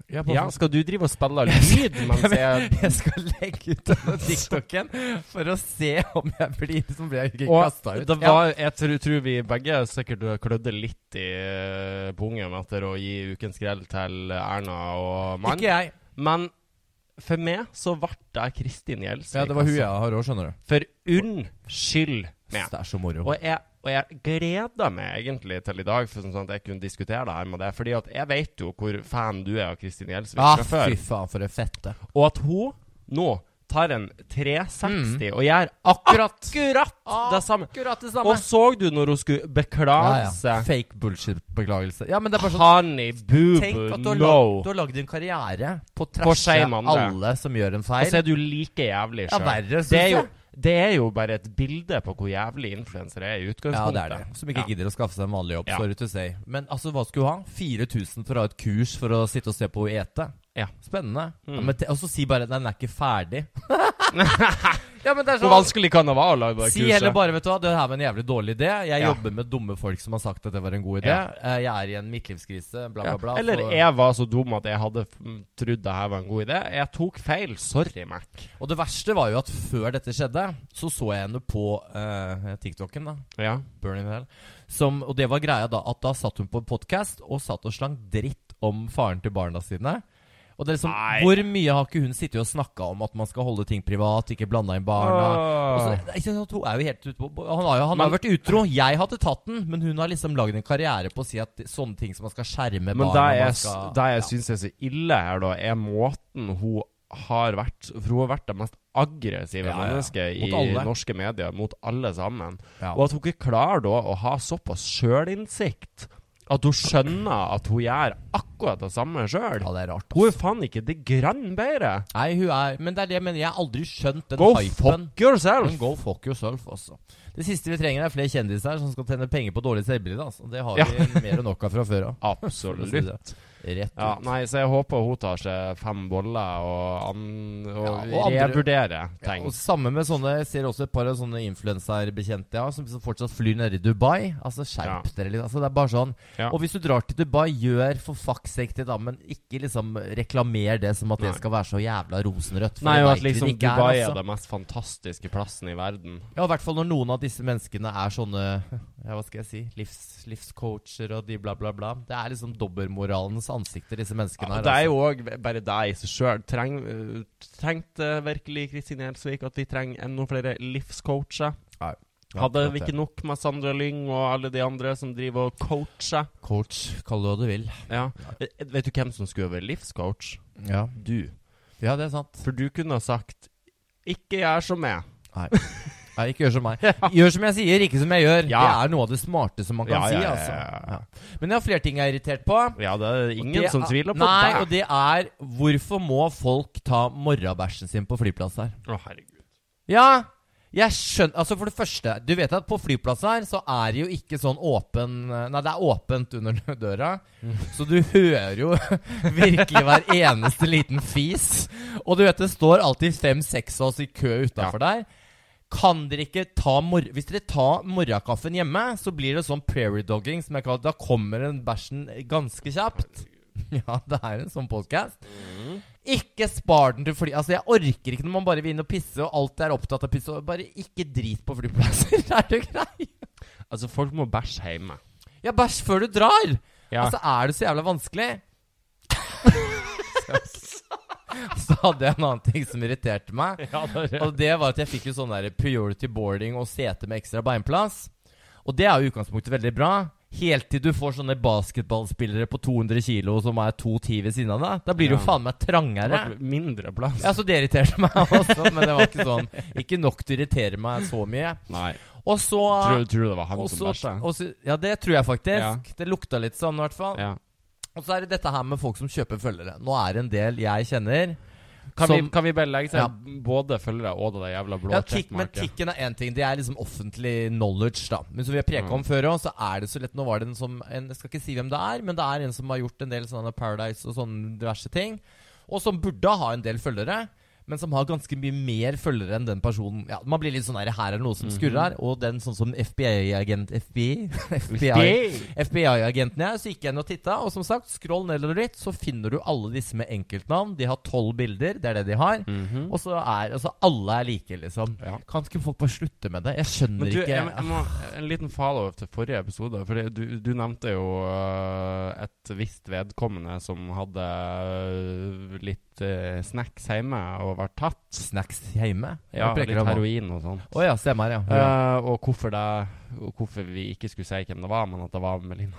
B: Ja,
A: ja, skal du drive og spille lyd mens jeg
B: sånn Jeg skal legge ut denne TikToken for å se om jeg blir liksom blir jeg ikke kasta
A: og
B: ut.
A: det
B: Ja.
A: var, jeg tror, tror vi begge sikkert klødde litt i eh, pungen etter å gi ukens grell til Erna og
B: Ikke
A: Mann.
B: jeg.
A: Men for meg så ble det Kristin Gjelsvik.
B: Ja, det var hun jeg
A: altså.
B: har òg, skjønner du.
A: For unnskyld meg.
B: Det er så moro.
A: Og jeg, og jeg gleder meg egentlig til i dag, for sånn at jeg kunne diskutere det her med deg. Fordi at jeg vet jo hvor fan du er av Kristin Gjelsvik
B: ah,
A: fra
B: fy
A: før.
B: faen, for en fette.
A: Og at hun nå tar en 360
B: Mm.
A: og gjør akkurat, det samme.
B: Akkurat det Ah, samme.
A: Og så du når hun skulle
B: Ja,
A: beklage
B: ja.
A: seg?
B: Fake bullshit-beklagelse. Ja, men det er bare sånn
A: Honey boo
B: Tenk at du
A: boo
B: har,
A: no.
B: lagd, du har lagd en karriere på å trashe
A: shame andre.
B: alle som gjør
A: Og
B: en
A: så
B: feil.
A: Altså, er du like jævlig
B: Ja,
A: sjøl.
B: verre, syns
A: det, er jo-
B: jeg.
A: det er jo bare et bilde på hvor jævlig influensere er i
B: Ja,
A: utgangspunktet.
B: det er det. Som
A: Ja.
B: ikke gidder å skaffe seg en vanlig jobb.
A: Ja.
B: Sorry to say. Men altså, hva skulle du ha? 4000 for å ha et kurs for å sitte og se på henne ete?
A: Ja.
B: Spennende. Ja,
A: Mm.
B: men te- og så si bare at den er ikke ferdig. ja, men det er
A: Hvor
B: sånn
A: vanskelig kan det være å lage det
B: Si
A: kurset?
B: heller bare vet du hva, det her var en jævlig dårlig idé. Jeg
A: Ja.
B: jobber med dumme folk som har sagt at det var en god idé.
A: Ja.
B: Eh, Jeg er i en midtlivskrise, bla,
A: Ja.
B: bla, bla.
A: Eller
B: så-
A: jeg var så dum at jeg hadde mm, trodd det her var en god idé. Jeg tok feil. Sorry, Mac.
B: Og det verste var jo at før dette skjedde, så så jeg henne på eh, TikToken, da.
A: Ja.
B: Burning Hell. Som, og det var greia da, at da satt hun på podkast og satt og slang dritt om faren til barna sine. Og det er liksom,
A: Nei.
B: Hvor mye har ikke hun sittet og snakka om at man skal holde ting privat, ikke blanda inn barna? Og så- ikke sant, hun er jo helt ute på Han har jo han har
A: Men-
B: vært utro. Jeg hadde tatt den, men hun har liksom lagd en karriere på å si at sånne ting som man skal skjerme
A: Men det
B: barna man
A: jeg,
B: skal,
A: det jeg syns er så ille her, da, er måten hun har vært For hun har vært det mest aggressive
B: Ja, ja.
A: mennesket i
B: Mot alle.
A: norske medier mot alle sammen.
B: ja.
A: Og at hun ikke klarer da å ha såpass sjølinnsikt at hun skjønner at hun gjør akkurat det samme sjøl.
B: ja, det er rart. ass.
A: Hun er faen ikke det grann bedre.
B: Nei, hun er Men det er det jeg mener. Jeg har aldri skjønt den
A: Go
B: hypen.
A: fuck yourself!
B: Men go fuck yourself, altså. Det siste vi trenger, er flere kjendiser som skal tjene penger på dårlig selvbilde. Altså. Det har vi mer enn nok av fra før av.
A: Absolutt.
B: Rett ut.
A: Ja, nei, så jeg håper hun tar seg fem boller og, an, og,
B: Ja, og andre-
A: revurderer
B: Ja,
A: ting.
B: og samme med sånne Jeg ser også et par av sånne influenserbekjente jeg har, som, som fortsatt flyr nede i Dubai. Altså, skjerp dere litt. Altså, det er bare sånn.
A: Ja.
B: Og hvis du drar til Dubai, gjør for fuck's sake det, da, men ikke liksom reklamer det som at det
A: Nei.
B: skal være så jævla rosenrødt. for
A: Nei,
B: det
A: og
B: vet
A: at
B: vi
A: liksom
B: det ikke er,
A: Dubai
B: altså.
A: er den mest fantastiske plassen i verden.
B: Ja, i hvert fall når noen av disse menneskene er sånne Ja, hva skal jeg si livs, livscoacher og de bla, bla, bla. Det er liksom dobbeltmoralens ansikter, disse menneskene
A: Ja,
B: her.
A: det er jo
B: altså.
A: òg bare deg i seg sjøl. Treng, øh, trengte virkelig Kristin Gjelsvik at vi trenger enda flere livscoacher?
B: altså.
A: Hadde
B: Ja,
A: vi ikke nok med Sandra Lyng og alle de andre som driver og coacher?
B: Coach, kall det hva du vil.
A: Ja. Eh, Vet du hvem som skulle være livscoach?
B: Ja.
A: Du.
B: ja, det er sant.
A: For du kunne ha sagt 'ikke gjør som meg'.
B: Nei, ikke gjør som meg. Gjør som jeg sier, ikke som jeg gjør.
A: Ja.
B: Det er noe av det smarte som man kan
A: Ja,
B: si,
A: ja, ja,
B: altså.
A: ja.
B: Ja. Men jeg har flere ting jeg er irritert på.
A: Ja, det er ingen
B: Det
A: som
B: er-
A: tviler på
B: Nei,
A: deg.
B: og det er hvorfor må folk ta morrabæsjen sin på flyplasser?
A: Å, herregud.
B: Ja, jeg skjønner Altså for det første, du vet at på flyplasser her så er det jo ikke sånn åpen Nei, det er åpent under døra, så du hører jo virkelig hver eneste liten fis. Og du vet det står alltid fem-seks av oss i kø utafor der. Kan dere ikke ta mor Hvis dere tar morgenkaffen hjemme, så blir det sånn prairie dogging. Som jeg kaller det. Da kommer den bæsjen ganske kjapt. Ja, det er en sånn podkast. Ikke spar den til fly... Altså, jeg orker ikke når man bare vil inn og pisse, og alt er opptatt av pisse. og Bare ikke drit på flyplasser. er du grei?
A: Altså, folk må bæsje hjemme.
B: Ja, bæsj før du drar!
A: Ja.
B: Altså, er det så jævla vanskelig? så hadde jeg en annen ting som irriterte meg. Og det var at jeg fikk jo sånn der priority boarding og sete med ekstra beinplass. Og det er jo i utgangspunktet veldig bra. Helt til du får sånne basketballspillere på 200 kilo som er 2,10 ved siden av deg. Da blir det jo
A: Ja.
B: faen meg
A: det
B: trangere.
A: ble mindre plass.
B: Ja, så det irriterte meg også, men det var ikke sånn Ikke nok til å irritere meg så mye.
A: Nei.
B: Og så
A: Tror, tror du det var han
B: og
A: som
B: så-
A: bæsja?
B: og så- Ja, det tror jeg faktisk.
A: Ja.
B: Det lukta litt sånn, i hvert fall.
A: Ja.
B: Og så er det dette her med folk som kjøper følgere. Nå er det en del jeg kjenner
A: Kan,
B: som
A: vi, kan vi bare legge seg
B: Ja.
A: både følgere og det der jævla blå
B: ja, tikk, Men
A: checkmarket?
B: tikken er én ting. Det er liksom offentlig knowledge, da. Men som vi har preka om før òg, så er det så lett Nå var det en som en, Jeg skal ikke si hvem det er, men det er en som har gjort en del sånne Paradise og sånne diverse ting. Og som burde ha en del følgere, men som har ganske mye mer følgere enn den personen. Ja, Man blir litt sånn der, her er det noe som skurrer her. Og den sånn som FBI-agent FBI?
A: Yay!
B: FBI-agenten jeg, så gikk jeg inn og titta, og som sagt, scroll nedover dit, så finner du alle disse med enkeltnavn. De har tolv bilder, det er det de har.
A: Mhm.
B: Og så er altså alle er like, liksom.
A: Ja.
B: Kan ikke folk bare slutte med det? Jeg skjønner
A: Men du,
B: ikke
A: jeg, jeg må, en liten follow-up til forrige episode. For du, du nevnte jo øh, et visst vedkommende som hadde øh, litt øh, snacks hjemme og var tatt.
B: Snacks hjemme?
A: Ja,
B: Hva preker
A: litt
B: du om?
A: heroin og sånn.
B: Å ja, stemmer, ja. ja.
A: Eh, og, hvorfor det, og hvorfor vi ikke skulle si hvem det var, men at det var Melina.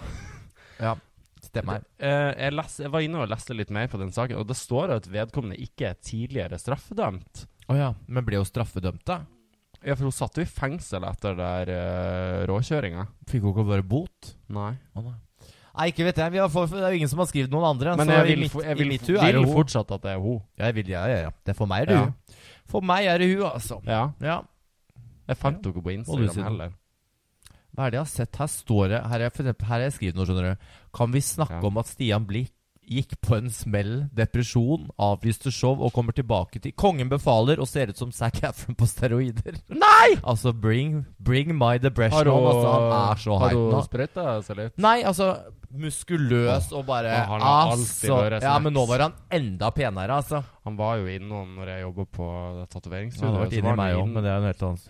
B: Stemmer.
A: Eh, jeg, les, jeg var inne og leste litt mer på den saken, og det står at vedkommende ikke er tidligere straffedømt.
B: Å ja. Men ble jo straffedømt, da?
A: Ja, for hun satt jo i fengsel etter der uh, råkjøringa.
B: Fikk hun ikke bare bot?
A: Nei.
B: Å nei. Nei, ikke vet jeg. Vi har for, det er jo ingen som har skrevet noen andre.
A: Men
B: så
A: jeg
B: i
A: vil,
B: mitt-
A: fo- jeg
B: i
A: vil,
B: mitt
A: f-
B: hu er det
A: vil
B: hun.
A: fortsatt at det er hun.
B: Ja, jeg vil, ja, ja, ja. Det er for meg er det
A: Ja.
B: hun. For meg er det hun, altså.
A: Ja.
B: Ja.
A: Jeg fant henne ikke på
B: Hva du sier?
A: Instagram heller.
B: Hva er det jeg har sett? Her står det Her har jeg, for eksempel- her har jeg skrevet noe, skjønner du. Kan vi snakke
A: Ja.
B: om at Stian Blikk gikk på en smell, depresjon, avlyste show og kommer tilbake til Kongen befaler og ser ut som Zac Efron på steroider. Nei! altså, bring, bring my depression. on, altså, han er så
A: har
B: heit
A: hun
B: nå.
A: sprøyta seg litt?
B: Nei, altså Muskuløs og bare
A: Å, han har alltid
B: altså,
A: vært
B: Ja,
A: snacks.
B: men nå var han enda penere, altså.
A: Han var jo innom når jeg jobba på det
B: Han har
A: tatoveringsstudioet.
B: vært
A: så
B: inni
A: var han
B: meg
A: jo
B: òg,
A: innom-
B: men det er noe helt annet.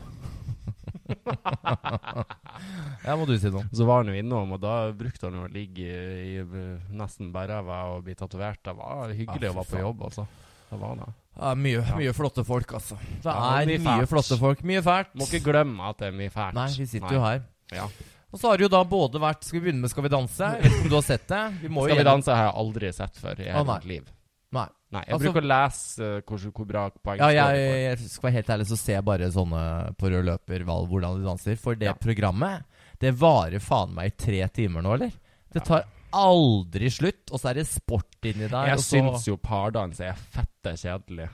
B: ja, må du si noe.
A: Så var han jo innom, og da brukte han jo å ligge i, i nesten bærræva og bli tatovert. Det var hyggelig
B: Ja, Ah, fy
A: å være på
B: faen.
A: jobb, altså. Det var det.
B: Ja, mye, mye flotte folk, altså. Det
A: Ja,
B: er
A: mye
B: mye
A: fælt.
B: flotte folk. Mye fælt.
A: Må ikke glemme at det er mye fælt.
B: Nei, vi sitter jo her.
A: Ja.
B: Og så har det jo da både vært Skal vi begynne med Skal vi danse? Jeg vet ikke om du har sett det? Vi må jo
A: Skal vi
B: gjennom-
A: danse har jeg aldri sett før i hele
B: Å, nei.
A: mitt liv.
B: Nei.
A: Nei, jeg
B: Altså-
A: bruker å lese eh, hvor, hvor bra poeng
B: Ja,
A: står
B: jeg,
A: det for.
B: jeg skal være helt ærlig, så ser jeg bare sånne på rød løper hva- hvordan de danser. For det
A: Ja.
B: programmet, det varer faen meg i tre timer nå, eller? Det tar aldri slutt, og så er det sport inni der.
A: Jeg
B: og så...
A: syns jo pardans er fette kjedelig.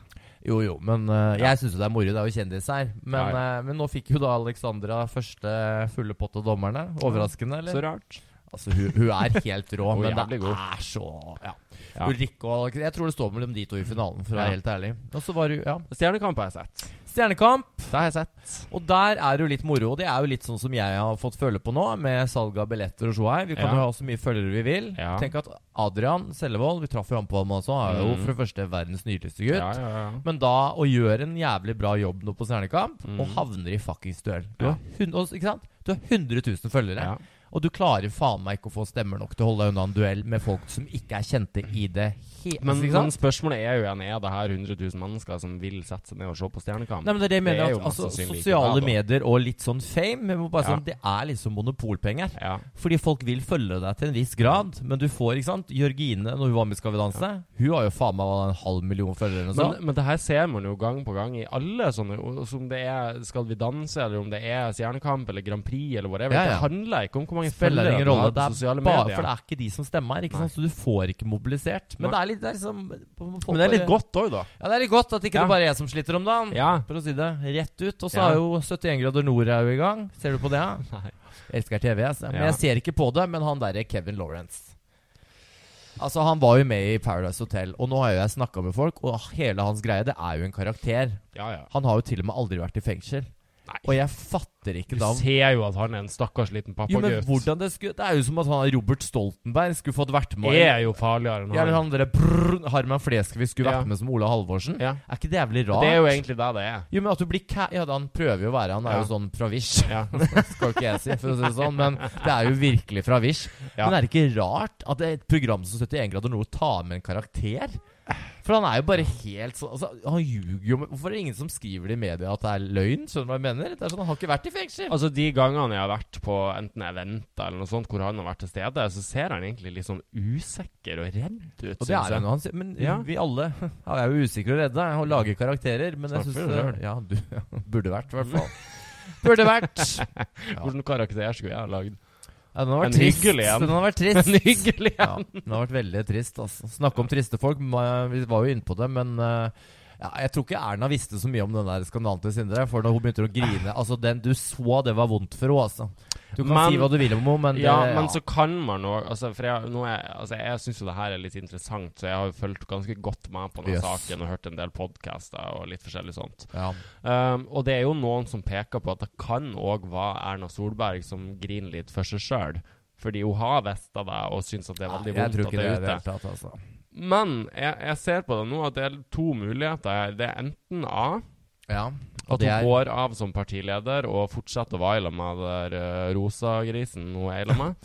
B: Jo, jo, men eh, jeg syns jo det er moro. Det er jo kjendis her. Men,
A: Ja,
B: eh, men nå fikk jo da Alexandra første fulle pott av dommerne. Overraskende, eller?
A: Så rart.
B: Altså, hun, hun er helt rå,
A: Hun er
B: men det
A: jævlig god.
B: er så ja.
A: Ja.
B: Ulrikke og Jeg tror det står mellom de to i finalen, for å være
A: Ja.
B: helt ærlig. Og så var det jo- ja.
A: Stjernekamp har jeg sett.
B: Stjernekamp.
A: Det har jeg sett.
B: Og der er det jo litt moro. og Det er jo litt sånn som jeg har fått føle på nå, med salg av billetter og så her. Vi kan
A: Ja.
B: jo ha så mye følgere vi vil.
A: Ja.
B: Tenk at Adrian Sellevold, vi traff jo han på ham også, han er jo
A: Mm.
B: for det første verdens nydeligste
A: Ja,
B: gutt.
A: ja, ja.
B: Men da å gjøre en jævlig bra jobb nå på Stjernekamp,
A: Mm.
B: og havner i fuckings duell Du
A: Ja.
B: har hun- og- ikke sant? Du har 100 000 følgere,
A: Ja.
B: og du klarer faen meg ikke å få stemmer nok til å holde deg unna en duell med folk som ikke er kjente i det hele
A: Men,
B: ikke
A: men
B: sant?
A: spørsmålet er jo igjen Er det her 100 000 mennesker som vil sette seg ned og se på Stjernekamp?
B: Nei, men det er det jeg mener
A: det er jo
B: at, altså,
A: mest sannsynlig ikke
B: Sosiale
A: det, da. medier
B: medier og litt sånn fame jeg må bare si
A: Ja.
B: at Det er liksom monopolpenger.
A: ja.
B: Fordi folk vil følge deg til en viss grad, men du får, ikke sant Jørgine, når hun var med i Skal vi danse, hun har jo faen meg en halv million følgere. eller noe
A: Men,
B: sånt.
A: men det her ser man jo gang på gang i alle sånne og- og Om det er Skal vi danse, eller om det er Stjernekamp eller Grand Prix eller whatever.
B: Ja, ja.
A: Det handler ikke om hvor mange
B: Spiller
A: følgere
B: ingen
A: du
B: rolle.
A: har
B: Det
A: på
B: er
A: sosiale
B: bare
A: medier.
B: for det er ikke de som stemmer, ikke sant? så du får ikke mobilisert.
A: Nei.
B: Men det er litt det er liksom folk
A: Men det er litt
B: bare-
A: godt òg, da.
B: Ja, det er litt godt at ikke
A: Ja.
B: det bare er jeg som sliter om dagen.
A: Ja.
B: For å si det rett ut. Og så
A: Ja.
B: er jo 71 grader nord er jo i gang. Ser du på det? ja?
A: Nei.
B: Jeg elsker TV, jeg. altså. Men
A: Ja.
B: jeg ser ikke på det. Men han derre Kevin Lawrence Altså, han var jo med i Paradise Hotel, og nå har jo jeg snakka med folk, og hele hans greie, det er jo en karakter.
A: Ja, ja.
B: Han har jo til og med aldri vært i fengsel.
A: Nei.
B: Og jeg fatter ikke
A: Du
B: da
A: ser jo at han er en stakkars liten
B: Jo, men
A: pappagutt.
B: hvordan det skulle Det er jo som at han Robert Stoltenberg skulle fått vært med.
A: Er jo farligere enn
B: Ja, eller
A: han.
B: han derre brrr, Harman Fleskvig skulle vært
A: Ja.
B: med som Ola Halvorsen.
A: Ja.
B: Er ikke det jævlig rart?
A: Det er jo egentlig det det er.
B: Jo, men at du blir ca... Ja, da, han prøver jo å være Han er
A: Ja.
B: jo sånn fra Vish,
A: Ja.
B: skal ikke jeg si, for å si det sånn. Men det er jo virkelig fra Vish.
A: Ja.
B: Men er det ikke rart at det er et program som 71 grader nord tar med en karakter? For han er jo bare helt sånn altså, Han ljuger jo men Hvorfor er det ingen som skriver det i media at det er løgn? Skjønner du hva jeg mener? Det er sånn, Han har ikke vært i fengsel.
A: Altså De gangene jeg har vært på enten eventer eller noe sånt hvor han har vært til stede, så ser han egentlig litt sånn usikker og redd ut.
B: Og det er han jo. Han sier- Men
A: Ja.
B: vi alle ja, vi er jo usikre og redde og lager karakterer. Men jeg
A: Snakker
B: syns
A: du selv?
B: Ja, du burde vært, i hvert fall. Burde vært. Ja,
A: Hvilken karakter skulle jeg ha lagd?
B: den har
A: En
B: vært trist.
A: hyggelig en.
B: Den har vært trist.
A: En hyggelig
B: Ja, den har vært veldig trist. Altså. Snakke om triste folk. ma- Vi var jo inne på det, men eh, ja, jeg tror ikke Erna visste så mye om den der skandalen til Sindre. For da hun begynte å grine Altså, den du så, det var vondt for henne, altså. Du kan
A: Men-
B: si hva du vil om henne, men det,
A: Ja, men så kan man òg altså, For jeg, nå er- altså, jeg syns jo det her er litt interessant, så jeg har jo fulgt ganske godt med på denne
B: Yes.
A: saken og hørt en del podcaster og litt forskjellig sånt.
B: ja.
A: Um, og det er jo noen som peker på at det kan òg være Erna Solberg som griner litt for seg sjøl. Fordi hun har visst av det og syns at det er veldig
B: Jeg
A: vondt at
B: tror ikke
A: det er
B: det i det
A: ute.
B: hele tatt, altså.
A: Men jeg, jeg ser på det nå at det er to muligheter her. Det er enten A,
B: Ja.
A: at
B: det
A: hun
B: er-
A: går av som partileder og fortsetter å være sammen med den der, eh, rosa grisen hun er sammen med.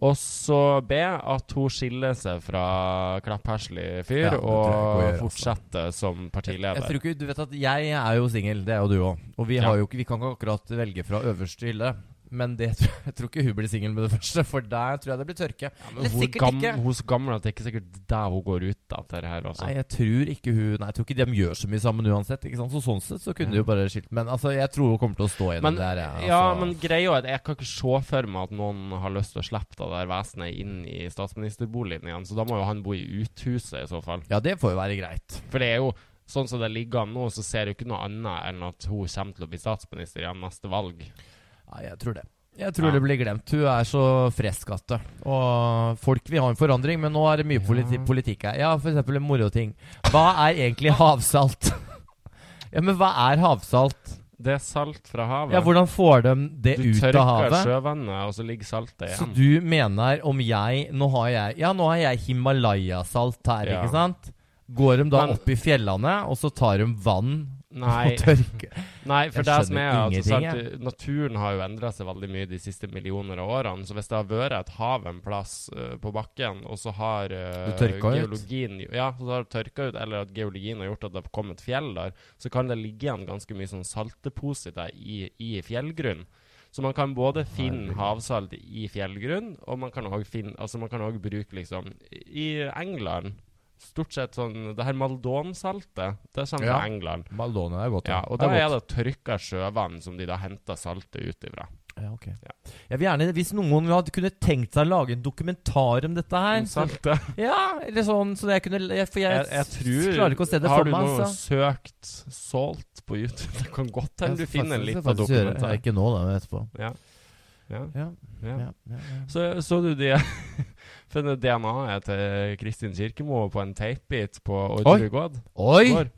A: Og så B, at hun skiller seg fra klappherselig
B: Ja,
A: fyr
B: det tror jeg
A: og
B: hun gjør, altså.
A: fortsetter som
B: Jeg
A: partileder.
B: tror ikke, du vet at jeg er jo singel, det er jo du òg. Og vi,
A: Ja.
B: har jo, ikke- vi kan ikke akkurat velge fra øverste hylle. Men det, tror- jeg tror ikke hun blir singel med det første, for der tror jeg det blir tørke.
A: Men
B: Eller
A: hun,
B: sikkert
A: gam,
B: ikke.
A: hun er så gammel at det er ikke sikkert der hun går ut etter det her. altså. Også.
B: Nei, jeg tror ikke hun Nei, jeg tror ikke de gjør så mye sammen uansett. Ikke sant? Så sånn sett så kunne de jo bare skilt Men altså, jeg tror hun kommer til å stå
A: Mm. Men,
B: gjennom det her. jeg,
A: ja,
B: altså.
A: men greia er at jeg kan ikke se for meg at noen har lyst til å slippe det der vesenet inn i statsministerboligen igjen, så da må jo han bo i uthuset i så fall.
B: ja, det får jo være greit.
A: For det er jo sånn som det ligger an nå, så ser jeg jo ikke noe annet enn at hun kommer til å bli statsminister igjen neste valg.
B: Ja, jeg tror det. Jeg tror
A: Ja.
B: det blir glemt. Hun er så fresk at det. Og folk vil ha en forandring, men nå er det mye politi politikk her. Ja, for eksempel en moroting. Hva er egentlig havsalt? ja, men hva er havsalt?
A: Det er salt fra havet.
B: Ja, hvordan får de det
A: du
B: ut
A: tørker
B: av havet?
A: altså sjøvannet, og så ligger saltet
B: Så
A: igjen.
B: du mener om jeg Nå har jeg, ja, nå har jeg Himalaya-salt her,
A: Ja.
B: ikke sant? Går de da
A: Men-
B: opp i fjellene, og så tar de vann
A: Nei,
B: og tørker
A: nei, for
B: Jeg
A: det som er
B: skjønner
A: altså,
B: ingenting,
A: sant, Naturen har jo endra seg veldig mye de siste millioner av årene. Så hvis det har vært et hav en plass eh, på bakken, og så har eh,
B: Du tørker ut?
A: geologien Ja, så har det tørka ut, eller at geologien har gjort at det har kommet fjell der, så kan det ligge igjen ganske mye sånn saltdepositer i, i fjellgrunn. Så man kan både finne havsalt i fjellgrunn, og man kan òg finne Altså, man kan òg bruke liksom I England Stort sett sånn Det her maldonsaltet, det kommer fra
B: Ja.
A: England.
B: Maldonien er godt.
A: Ja, og da er det tørka sjøvann som de da henter saltet ut ifra.
B: Ja, ok. Jeg vil gjerne, Hvis noen hadde kunne tenkt seg å lage en dokumentar om dette her så,
A: Saltet.
B: Ja, eller sånn, så jeg kunne jeg, For jeg,
A: Jeg, jeg tror
B: klarer ikke å se det
A: Har
B: for
A: du
B: meg.
A: noe
B: altså.
A: søkt salt på YouTube? Det kan godt
B: Jeg
A: hende du
B: skal
A: finner en
B: faktisk- jeg
A: liten
B: skal faktisk gjøre-
A: dokumentar.
B: Ikke nå, da, men etterpå.
A: Ja. Ja,
B: Ja,
A: ja.
B: ja, ja, ja.
A: Så, så du de funnet DNA-et til Kristin Kirkemo på en teipbit på Orderud gård?
B: Oi!
A: Går.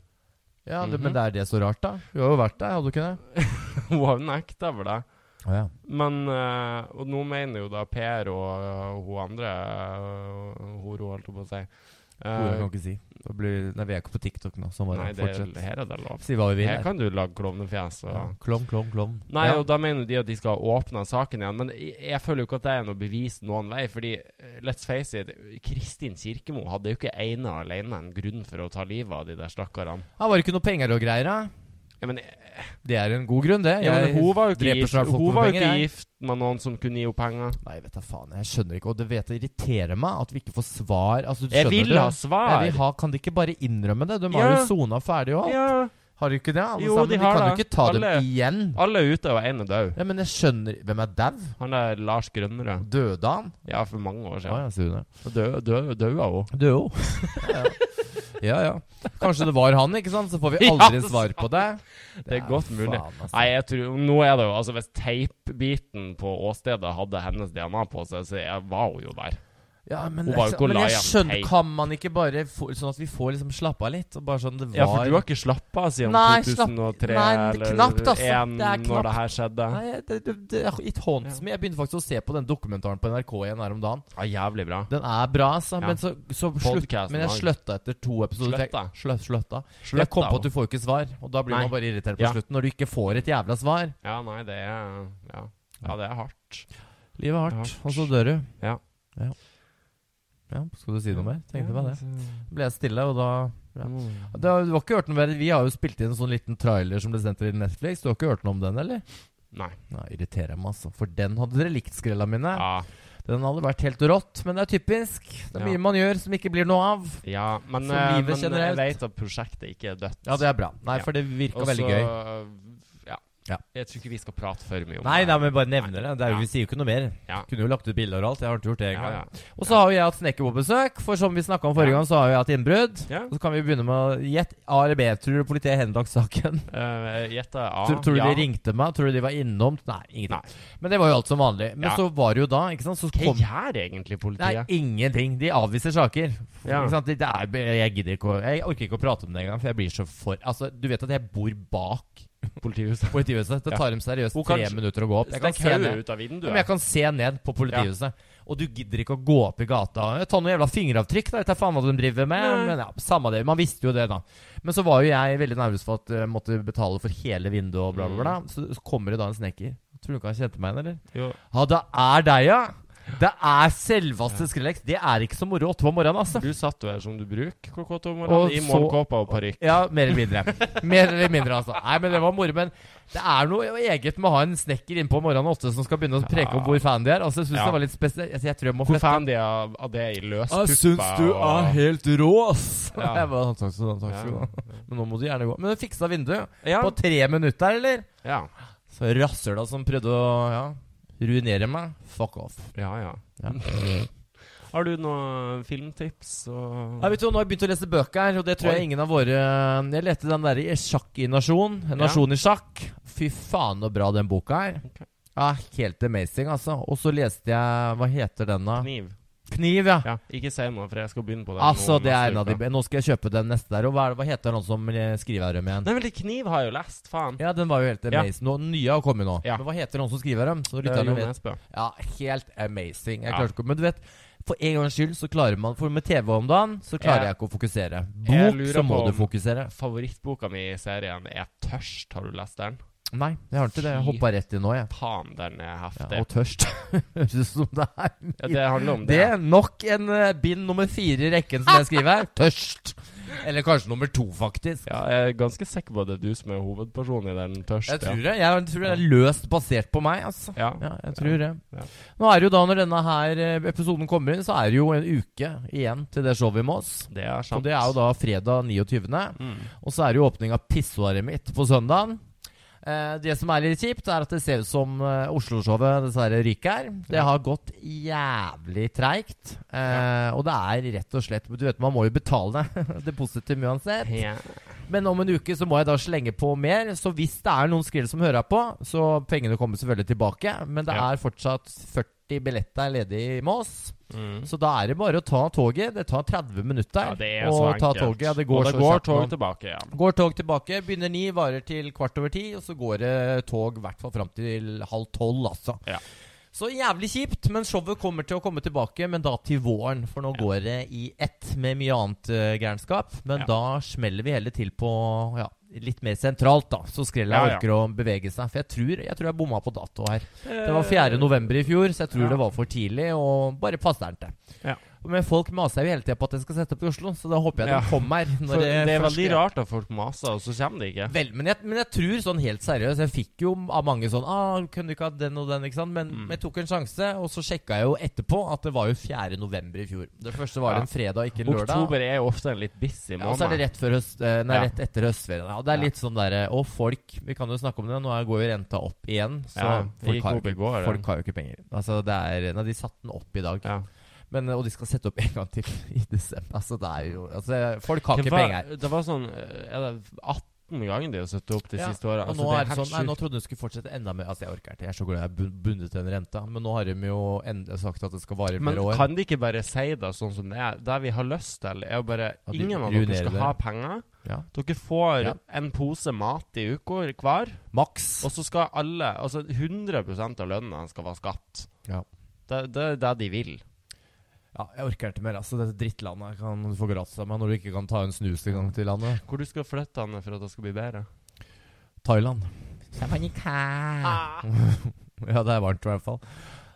B: Ja, det,
A: Mhm.
B: Men det er det så rart, da? Du har jo vært der, hadde du ikke det?
A: Hun har nekta for det.
B: Å ja.
A: Men eh, Og nå mener jo da Per og eh, hun andre eh, Horo, holdt jeg på å si. eh,
B: Ordet kan jeg ikke si. Da blir, nei, vi er ikke på TikTok nå, så bare
A: nei, det er,
B: fortsett.
A: her er det lov.
B: Si hva vi vil.
A: Her
B: her.
A: kan du lage klovnefjes. Og,
B: Ja. Klovn, klovn, klovn.
A: Nei,
B: ja.
A: og da mener de at de skal ha åpna saken igjen. Men jeg, jeg føler jo ikke at det er noe bevis noen vei. Fordi, eh, let's face it, Kristin Kirkemo hadde jo ikke ene og alene en grunn for å ta livet av de der stakkarene.
B: Ja, var det ikke noe penger og greier, da?
A: Ja, men,
B: Det er en god grunn, det.
A: ja, men hun var jo ikke,
B: dreper
A: gift,
B: snart folk
A: hun
B: for
A: var jo
B: penger,
A: ikke
B: jeg.
A: gift med noen som kunne gi henne penger.
B: Nei, vet da faen. Jeg skjønner ikke. Og det vet jeg irriterer meg at vi ikke får svar. Altså, du
A: Jeg
B: skjønner
A: vil
B: det.
A: ha svar!
B: Jeg vil ha, kan de ikke bare innrømme det? De har
A: Ja.
B: jo sona ferdig og alt.
A: ja.
B: Har de ikke det? Alle
A: Jo,
B: sammen.
A: de
B: De,
A: har
B: kan jo
A: det.
B: ikke ta
A: Alle.
B: dem igjen.
A: Alle er ute, og én er død.
B: Ja, Men jeg skjønner Hvem er dau?
A: Han er Lars Grønnerød.
B: Døde han?
A: Ja, for mange år
B: Å
A: siden.
B: ja, sier du det.
A: Og dø- dø- Daua hun.
B: Døde hun? ja ja. Kanskje det var han, ikke sant? Så får vi aldri
A: Ja,
B: svar på det.
A: Det er godt mulig.
B: Faen, altså.
A: Nei, jeg tror, nå er det jo, altså Hvis teipbiten på åstedet hadde hennes DNA på seg, så jeg var hun jo der.
B: Ja, men, altså,
A: Hun var jo ikke
B: men
A: la
B: jeg
A: igjen
B: skjønner
A: teip.
B: Kan man ikke bare få, Sånn at vi får liksom slappe av litt? Og bare sånn det var
A: Ja, for du har ikke slappa av siden
B: Nei, slapp-
A: 2003
B: nei, det er
A: eller
B: knapt, altså. Det er
A: 1, når det
B: knapt.
A: her skjedde?
B: Nei, det, det, det er it haunts me. Jeg begynte faktisk å se på den dokumentaren på NRK igjen her om dagen.
A: Ja, jævlig bra.
B: Den er bra, altså.
A: Ja.
B: Men, så, så slutt,
A: Podcasten
B: men jeg
A: også.
B: slutta etter to episoder. for jeg-
A: Sløtta.
B: Slø, sløtta.
A: Slutt,
B: Jeg kom på
A: da.
B: at du får ikke svar, og da
A: altså.
B: blir
A: Nei.
B: man bare irritert på
A: Ja.
B: slutten når du ikke får et jævla svar.
A: Ja, nei, det er Ja, ja det er hardt.
B: Livet er hardt,
A: Hardt.
B: og så dør du.
A: Ja.
B: ja. Ja, skal du si noe mer? Tenkte meg det.
A: det.
B: Ble jeg stille, og da ja.
A: Mm.
B: Det har, du har ikke hørt noe mer? Vi har jo spilt inn en sånn liten trailer som ble sendt til Netflix. Du har ikke hørt noe om den, eller?
A: Nei.
B: Nei, irriterer meg, altså. For den hadde dere likt, skrella mine.
A: Ja,
B: Den hadde vært helt rått, men det er typisk. Det er
A: Ja.
B: mye man gjør som ikke blir noe av.
A: ja men,
B: For
A: eh,
B: livet
A: men jeg
B: generelt.
A: vet at prosjektet ikke er dødt.
B: Ja, det er bra. Nei,
A: Ja.
B: for det virka
A: Og
B: veldig
A: så, eh,
B: gøy.
A: Ja.
B: Ja.
A: Jeg tror ikke vi skal prate for mye om
B: Nei, nei,
A: det.
B: men bare nevner det. det er, jo-
A: Ja.
B: Vi sier jo ikke noe mer.
A: Ja.
B: Kunne jo lagt ut bilder og alt. Jeg har ikke gjort det
A: Ja,
B: engang.
A: ja.
B: Og så har jo jeg hatt snekker på besøk, for som vi snakka om forrige
A: Ja.
B: gang, så har jo jeg hatt innbrudd.
A: Ja.
B: Og så kan vi begynne med å gjette A eller B. Tror du politiet henlagt saken?
A: Eh, Gjette A.
B: Tror, tror du
A: ja.
B: de ringte meg? Tror du de var innom? Nei, ingenting.
A: Nei.
B: Men det var jo alt som vanlig. Men
A: Ja.
B: så var det jo da, ikke sant Så
A: Hva
B: kom
A: gjør egentlig
B: Det er
A: politiet?
B: ingenting. De avviser saker.
A: Ja.
B: Ikke sant? Det det er, jeg gidder ikke å Jeg orker ikke å prate om det engang, for jeg blir så for Altså, du vet at jeg bor bak
A: Politihuset.
B: politihuset. Det
A: Ja.
B: tar dem seriøst
A: Og
B: tre
A: kanskje-
B: minutter å gå opp. Jeg kan
A: Stikk
B: se
A: hodet
B: ned.
A: ut av
B: Ja,
A: vinduet.
B: Men jeg kan se ned på politihuset. Og du gidder ikke å gå opp i gata. Ta noen jævla fingeravtrykk, da. Vet jeg faen hva de driver med.
A: Nei.
B: Men ja, samme det. Man visste jo det, da. Men så var jo jeg veldig nervøs for at jeg måtte betale for hele vinduet og bla, bla, bla.
A: Mm.
B: Så så kommer det da en snekker. Tror du ikke han kjente meg igjen, eller?
A: Jo.
B: Ja, det er deg, ja. Det er selveste Skrillex. Det er ikke så moro åtte på morgenen, altså.
A: Du satt jo her som du bruker klokka åtte om
B: Og
A: morgenen, i
B: så-
A: morgenkåpa og parykk.
B: Ja, mer eller mindre. Mer eller mindre, altså. Nei, men det var moro. Men det er noe eget med å ha en snekker innpå morgenen åtte som skal begynne å preke om hvor fan de er. Altså, jeg synes
A: Ja.
B: det var litt spesielt. Altså, jeg tror jeg må
A: Hvor
B: flytte.
A: fan de er av av det i løs puppa?
B: helt rå, ass!
A: Ja.
B: Jeg bare, sånn, takk skal du ha. takk skal du
A: Ja.
B: ha. Men nå må du gjerne gå. Men du fiksa vinduet
A: Ja.
B: på tre minutter, eller?
A: Ja.
B: Så rasshøla som prøvde å ja, ruinere meg. Fuck off.
A: ja, ja.
B: Ja.
A: Har du noen filmtips? Og...
B: Ja, vet du, hva, nå har jeg begynt å lese bøker, her, og det tror
A: Oi.
B: jeg ingen av våre Jeg lette den der i Sjakk i nasjon. En
A: Ja.
B: nasjon i sjakk. Fy faen så bra den boka er.
A: Ok.
B: Ja, Helt amazing, altså. Og så leste jeg Hva heter den, da?
A: Kniv.
B: Kniv, ja.
A: Ja. Ikke si noe, for jeg skal begynne på det.
B: Altså,
A: nå
B: det er
A: neste
B: en av de
A: uke.
B: be- Nå skal jeg kjøpe den neste der. Og hva, er det- hva heter den som eh, skriver her om igjen?
A: Nei, vel, det kniv har jeg jo lest, faen.
B: Ja, den var jo helt
A: Ja.
B: amazing. Nå, nye har kommet nå.
A: Ja.
B: Men hva heter den som skriver her om? Så
A: Eh,
B: lytterne
A: Jon
B: vet
A: Nesbø.
B: Ja, helt amazing. Jeg
A: Ja.
B: klarte ikke å- Men du vet, for en gangs skyld så klarer man For med TV om dagen så klarer
A: Jeg-
B: jeg ikke å fokusere.
A: jeg
B: Bok,
A: lurer
B: så må
A: på
B: du
A: om-
B: fokusere.
A: Favorittboka mi i serien er Tørst. Har du lest den?
B: Nei, jeg har ikke det. Jeg
A: Fy.
B: hoppa rett i nå, jeg.
A: Faen, den er
B: Ja,
A: heftig.
B: og tørst. Høres ut som det er
A: Ja, det handler om
B: Det
A: det.
B: er nok en eh, bind nummer fire i rekken som jeg skriver. tørst. Eller kanskje nummer to, faktisk.
A: Ja, jeg er ganske sikker på at det er du som er hovedpersonen i den Tørst.
B: Jeg
A: ja.
B: tror det. Jeg tror det er løst basert på meg, altså.
A: Ja.
B: Ja, jeg tror det.
A: Ja.
B: Nå er det jo da, når denne her eh, episoden kommer inn, så er det jo en uke igjen til det showet i Moss.
A: Det er
B: Og
A: sant.
B: det er jo da fredag 29.
A: Mm.
B: Og så er det jo åpning av pissoaret mitt på søndagen. Eh, det som er litt kjipt, er at det ser ut som eh, Oslo-showet dessverre ryker. Det
A: Ja.
B: har gått jævlig treigt. Eh, Og det er rett og slett Du vet, man må jo betale depositum uansett.
A: Ja.
B: Men om en uke så må jeg da slenge på mer. Så hvis det er noen skrill som hører på, så pengene kommer selvfølgelig tilbake. Men det
A: Ja.
B: er fortsatt 40 billetter ledig med oss.
A: Mm.
B: Så da er det bare å ta toget. Det tar 30 minutter.
A: Ja, det er
B: å
A: så
B: ta
A: enkelt.
B: toget. Ja, det går,
A: og det
B: så
A: går
B: kjapt
A: tog
B: nå.
A: tilbake, ja.
B: Går tog tilbake, begynner ni, varer til kvart over ti, og så går det tog i hvert fall fram til halv tolv, altså.
A: Ja.
B: Så jævlig kjipt, men showet kommer til å komme tilbake, men da til våren. For nå
A: Ja.
B: går det i ett med mye annet eh, gærenskap. Men
A: Ja.
B: da smeller vi heller til på ja, litt mer sentralt, da. Så Skrella
A: Ja, ja.
B: orker å bevege seg. For jeg tror jeg, tror jeg bomma på dato her. Det var 4. november i fjor, så jeg tror
A: Eh, Ja.
B: det var for tidlig, og bare passer den til.
A: Ja.
B: Men folk maser jo hele tida på at jeg skal sette opp i Oslo, så da håper jeg
A: Ja.
B: de kommer. Når
A: For det, er
B: først
A: veldig
B: skjer.
A: rart at folk maser, og så kommer de ikke.
B: Vel, men jeg, men jeg tror sånn helt seriøst Jeg fikk jo av mange sånn ah, Kunne du ikke ha den og den, ikke sant? Men
A: Mm.
B: men jeg tok en sjanse, og så sjekka jeg jo etterpå at det var jo 4. november i fjor. Det første var
A: Ja.
B: en fredag, ikke en lørdag.
A: Oktober er jo ofte en litt busy
B: Ja, og
A: måned.
B: så er det rett, før høst, eh, nei,
A: Ja.
B: rett etter høstferien. Ja, det er
A: Ja.
B: litt sånn derre Og folk Vi kan jo snakke om det. Nå er- går jo renta opp igjen. Så
A: Ja, det
B: folk,
A: gikk
B: har jo
A: opp i
B: ikke,
A: går, det.
B: folk har jo ikke penger. Altså, det er Nei, de satte den opp i dag.
A: Ja.
B: Men, eh, og de skal sette opp en gang til i desember. Altså, det er jo altså, Folk har
A: Det
B: ikke
A: var-
B: penger.
A: Det var sånn eh, Er det 18 ganger de har satt opp de
B: Ja,
A: siste Altså, åra?
B: Og nå er det sånn Nei, nå trodde hun skulle fortsette enda mer. Altså, jeg orker ikke. Jeg er så glad jeg er bun- bundet til den renta. Men nå har de jo endelig sagt at det skal vare i
A: Men
B: flere år.
A: kan de ikke bare si det sånn som det er? Det vi har lyst til, er jo bare
B: At de
A: Ingen av
B: ruinerer
A: dere skal
B: det.
A: ha penger.
B: Ja.
A: Dere får
B: Ja.
A: en pose mat i uka hver,
B: Maks.
A: og så skal alle Altså 100 av lønna skal være skatt.
B: Ja.
A: Det, det er det de vil.
B: Ja, jeg orker ikke mer. Altså, dette drittlandet kan du få gratis av meg når du ikke kan ta en snus en gang til landet.
A: Hvor du skal flytte han for at det skal bli bedre?
B: Thailand. Ah. Ja, det er varmt i hvert fall.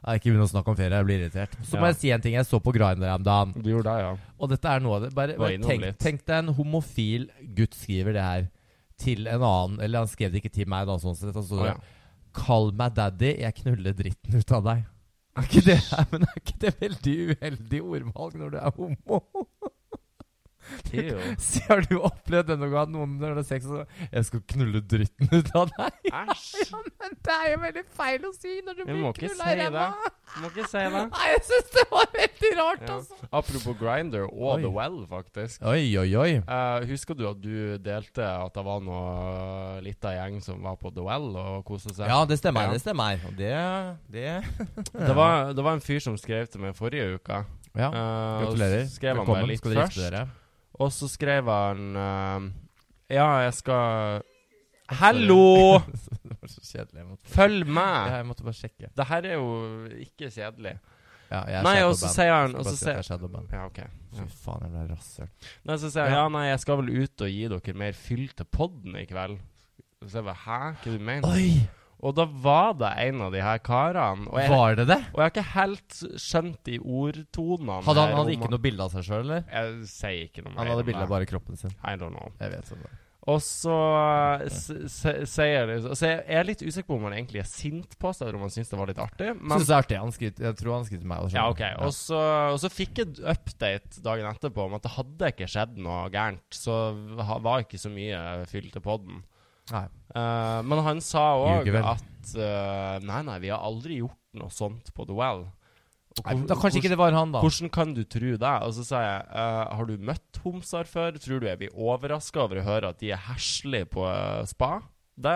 B: Jeg ikke begynn å snakke om ferie, jeg blir irritert. Så må
A: Ja.
B: jeg si en ting. Jeg så på Grindr her om dagen,
A: Du gjorde det, ja.
B: og dette er noe av det. Bare,
A: Gå
B: bare
A: innom
B: tenk,
A: litt.
B: tenk deg en homofil gutt skriver det her til en annen, eller han skrev det ikke til meg da, sånn sett. Han
A: Å,
B: stod det,
A: ja.
B: Kall meg daddy, jeg knuller dritten ut av deg. Er ikke det, men er ikke det veldig uheldig ordvalg når du er homo?
A: Det er jo-
B: Så har du opplevd denne gangen at noen når det er sex og så, Jeg skal knulle dritten ut av deg.
A: Æsj!
B: Ja, men det er jo veldig feil å si når du
A: Vi må
B: blir
A: ikke
B: knulla
A: si
B: i ræva.
A: Må ikke si det.
B: Nei, jeg syns det var veldig rart,
A: Ja.
B: altså.
A: Apropos Grinder og
B: Oi.
A: The Well, faktisk.
B: Oi, oi, oi.
A: Eh, husker du at du delte at det var noe lita gjeng som var på The Well og kosa seg?
B: Ja, det stemmer.
A: Altså, Ja.
B: Det stemmer. Og det, det
A: Det var, det var en fyr som skrev til meg forrige uke.
B: Ja.
A: Eh, og
B: Gratulerer.
A: så Skrev han meg
B: Velkommen.
A: litt
B: Skal dere gifte
A: først.
B: dere?
A: Og så skrev han eh, Ja, jeg skal Hallo!
B: Det var så kjedelig. Jeg måtte,
A: Følg
B: ja,
A: med!
B: jeg måtte bare sjekke.
A: Det her er jo ikke kjedelig.
B: Ja, jeg er
A: Nei, og
B: shadowban.
A: så sier han
B: Skal
A: og
B: bare
A: så
B: si at jeg
A: sier,
B: er shadowban.
A: Ja, OK.
B: Fy faen, jeg ble rasshøl.
A: Nei, så sier han
B: Ja.
A: ja, nei, jeg skal vel ut og gi dere mer fyll til podden i kveld. Så jeg bare Hæ, hva du mener
B: Oi!
A: Og da var det en av de her karene. Og jeg,
B: Var det det?
A: og jeg har ikke helt skjønt de ordtonene.
B: Hadde han hadde ikke noe bilde av seg sjøl, eller?
A: Jeg sier ikke noe mer.
B: Han hadde
A: om
B: bilde
A: det.
B: av bare kroppen sin.
A: I don't know.
B: Jeg vet sånn.
A: Og så eh, s- s- sier de Så jeg jeg er litt usikker på om han egentlig er sint på seg, eller om han syns det var litt artig. Men
B: Syns det er sånn. artig. Han skryter- jeg tror han skryter meg. også,
A: ja,
B: skjønner
A: ok.
B: du.
A: Og så, og så fikk jeg update dagen etterpå om at det hadde ikke skjedd noe gærent. Så ha- var ikke så mye fyll til podden.
B: Nei.
A: Eh, men han sa òg
B: Ljuger vel.
A: at eh, Nei, nei, vi har aldri gjort noe sånt på The Well. Og
B: Nei,
A: hvor-
B: da Kanskje ikke det var han, da.
A: Hvordan kan du tro det? Og så sa jeg, eh, har du møtt homser før? Tror du jeg blir overraska over å høre at de er heslige på eh, spa? Det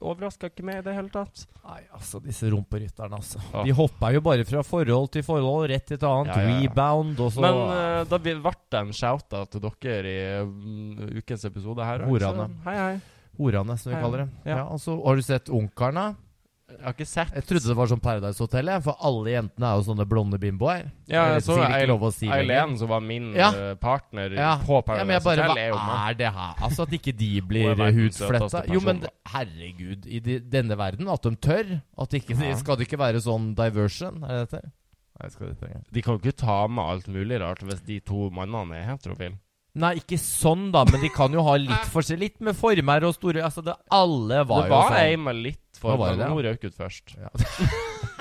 A: overraska ikke meg i det hele tatt.
B: Nei, altså, disse rumperytterne, altså.
A: Ja.
B: De hoppa jo bare fra forhold til forhold, rett til et annet.
A: Ja, ja, ja.
B: Rebound og så
A: Men eh, da ble ble det en shout-out til dere i mm, ukens episode her. og
B: Horene.
A: så- Hei, hei.
B: Horene, som vi
A: Ja,
B: kaller det.
A: ja.
B: Ja. og så Har du sett Unkarene?
A: Jeg har ikke sett
B: Jeg trodde det var sånn Paradise Hotel, jeg, for alle jentene er jo sånne blonde bimboer.
A: Ja,
B: Det er
A: jeg så
B: sikkert ikke
A: Eil-
B: lov å si lenger.
A: Eileen, som var min
B: Ja.
A: eh, partner
B: Ja.
A: på
B: Ja, men jeg
A: Paradise
B: bare,
A: Hotel, er jo
B: Hva
A: meg.
B: er det her? Altså At ikke de
A: Hun
B: blir
A: er verdens
B: hudfletta?
A: søteste
B: Jo, men
A: person,
B: herregud, i de, denne verden, at de tør? At ikke,
A: Ja.
B: Skal det ikke være sånn diversion? Er det dette? Nei, skal det ikke.
A: De kan jo ikke ta med alt mulig rart hvis de to mannene er heterofile.
B: Nei, ikke sånn, da, men de kan jo ha litt forskjell. Litt med former og store Altså, det, alle var,
A: det var
B: jo
A: ei
B: sånn.
A: med litt for
B: Hva var det,
A: men
B: ja?
A: Hun røyk ut først.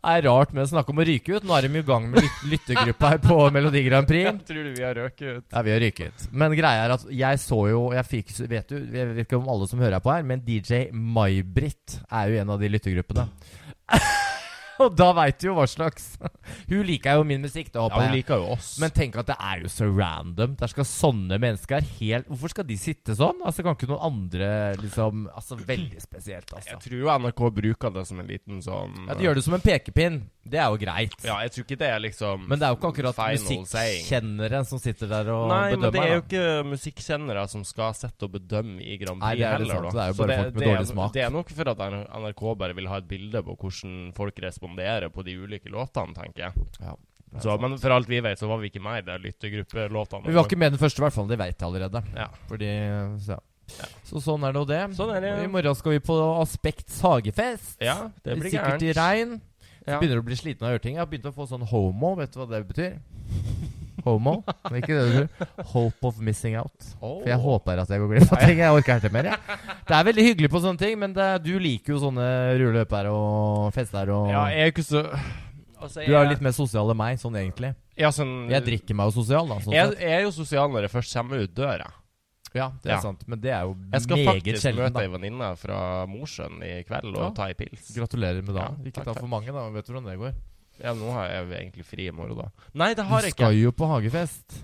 B: Det er rart med å snakke om å ryke ut. Nå er de jo i gang med lyt lyttegruppa her på Melodi Grand Prix.
A: Tror du vi har røket ut?
B: Ja, vi har ryket. Men greia er at jeg så jo jeg fikk, Vet du, jeg vet ikke om alle som hører på her, men DJ May-Britt er jo en av de lyttergruppene. Og da veit du jo hva slags Hun liker jo min musikk, det
A: Ja,
B: håper
A: hun
B: jeg.
A: liker jo oss.
B: Men tenk at det er jo så random. Der skal sånne mennesker helt Hvorfor skal de sitte sånn? Altså Kan ikke noen andre liksom Altså Veldig spesielt, altså.
A: jeg tror jo NRK bruker det som en liten sånn
B: Ja, De gjør det som en pekepinn. Det er jo greit.
A: Ja, jeg tror ikke det er liksom
B: Men det er jo ikke akkurat
A: final saying.
B: musikkjenneren som sitter der og
A: Nei, men
B: bedømmer.
A: det er jo
B: da.
A: ikke musikkjennere som skal sette og bedømme i Grand Prix
B: Nei, det er det
A: heller. da.
B: sant. Det er jo
A: Så
B: bare folk med
A: det er-
B: dårlig smak.
A: Det er nok for at NRK bare vil ha et bilde på hvordan folk responderer på de ulike låtene, tenker jeg.
B: Ja, det
A: Så,
B: er sant.
A: men for alt vi vet, så var vi ikke med i de lyttergruppelåtene.
B: Men vi var ikke med den første, i hvert fall. Det veit jeg allerede.
A: Ja.
B: Fordi, så, ja. så sånn er det og det.
A: Sånn er det.
B: Og I morgen skal vi på Aspekts hagefest.
A: Ja, det blir
B: Sikkert i
A: gærent.
B: regn.
A: Ja.
B: Begynner å bli sliten av å gjøre ting. Jeg har begynt å få sånn homo. Vet du hva det betyr? Homo. Det er ikke det det betyr. Hope of missing out.
A: Åh.
B: For jeg håper at jeg går glipp av ting. Jeg orker ikke mer. Jeg. Det er veldig hyggelig på sånne ting, men det, du liker jo sånne røde løpere og fester og
A: Ja, jeg er ikke så altså,
B: Du er jo litt mer sosial enn meg, sånn egentlig.
A: ja, sånn,
B: Jeg drikker meg jo sosial, da. Sånn
A: Jeg,
B: sett.
A: jeg er jo sosial når jeg først kommer ut døra.
B: Ja, det er
A: Ja.
B: sant. Men det er jo
A: Jeg skal
B: meget
A: faktisk
B: sjelden,
A: møte
B: da.
A: ei venninne fra Mosjøen i kveld og
B: Ja.
A: ta ei pils.
B: Gratulerer med dagen.
A: Ja,
B: ikke
A: takk,
B: ta
A: takk.
B: for mange, da. Vet du hvordan det går?
A: Ja, nå har jeg jo egentlig fri i morgen, da. Nei, det har
B: Du
A: jeg ikke.
B: skal jo på hagefest.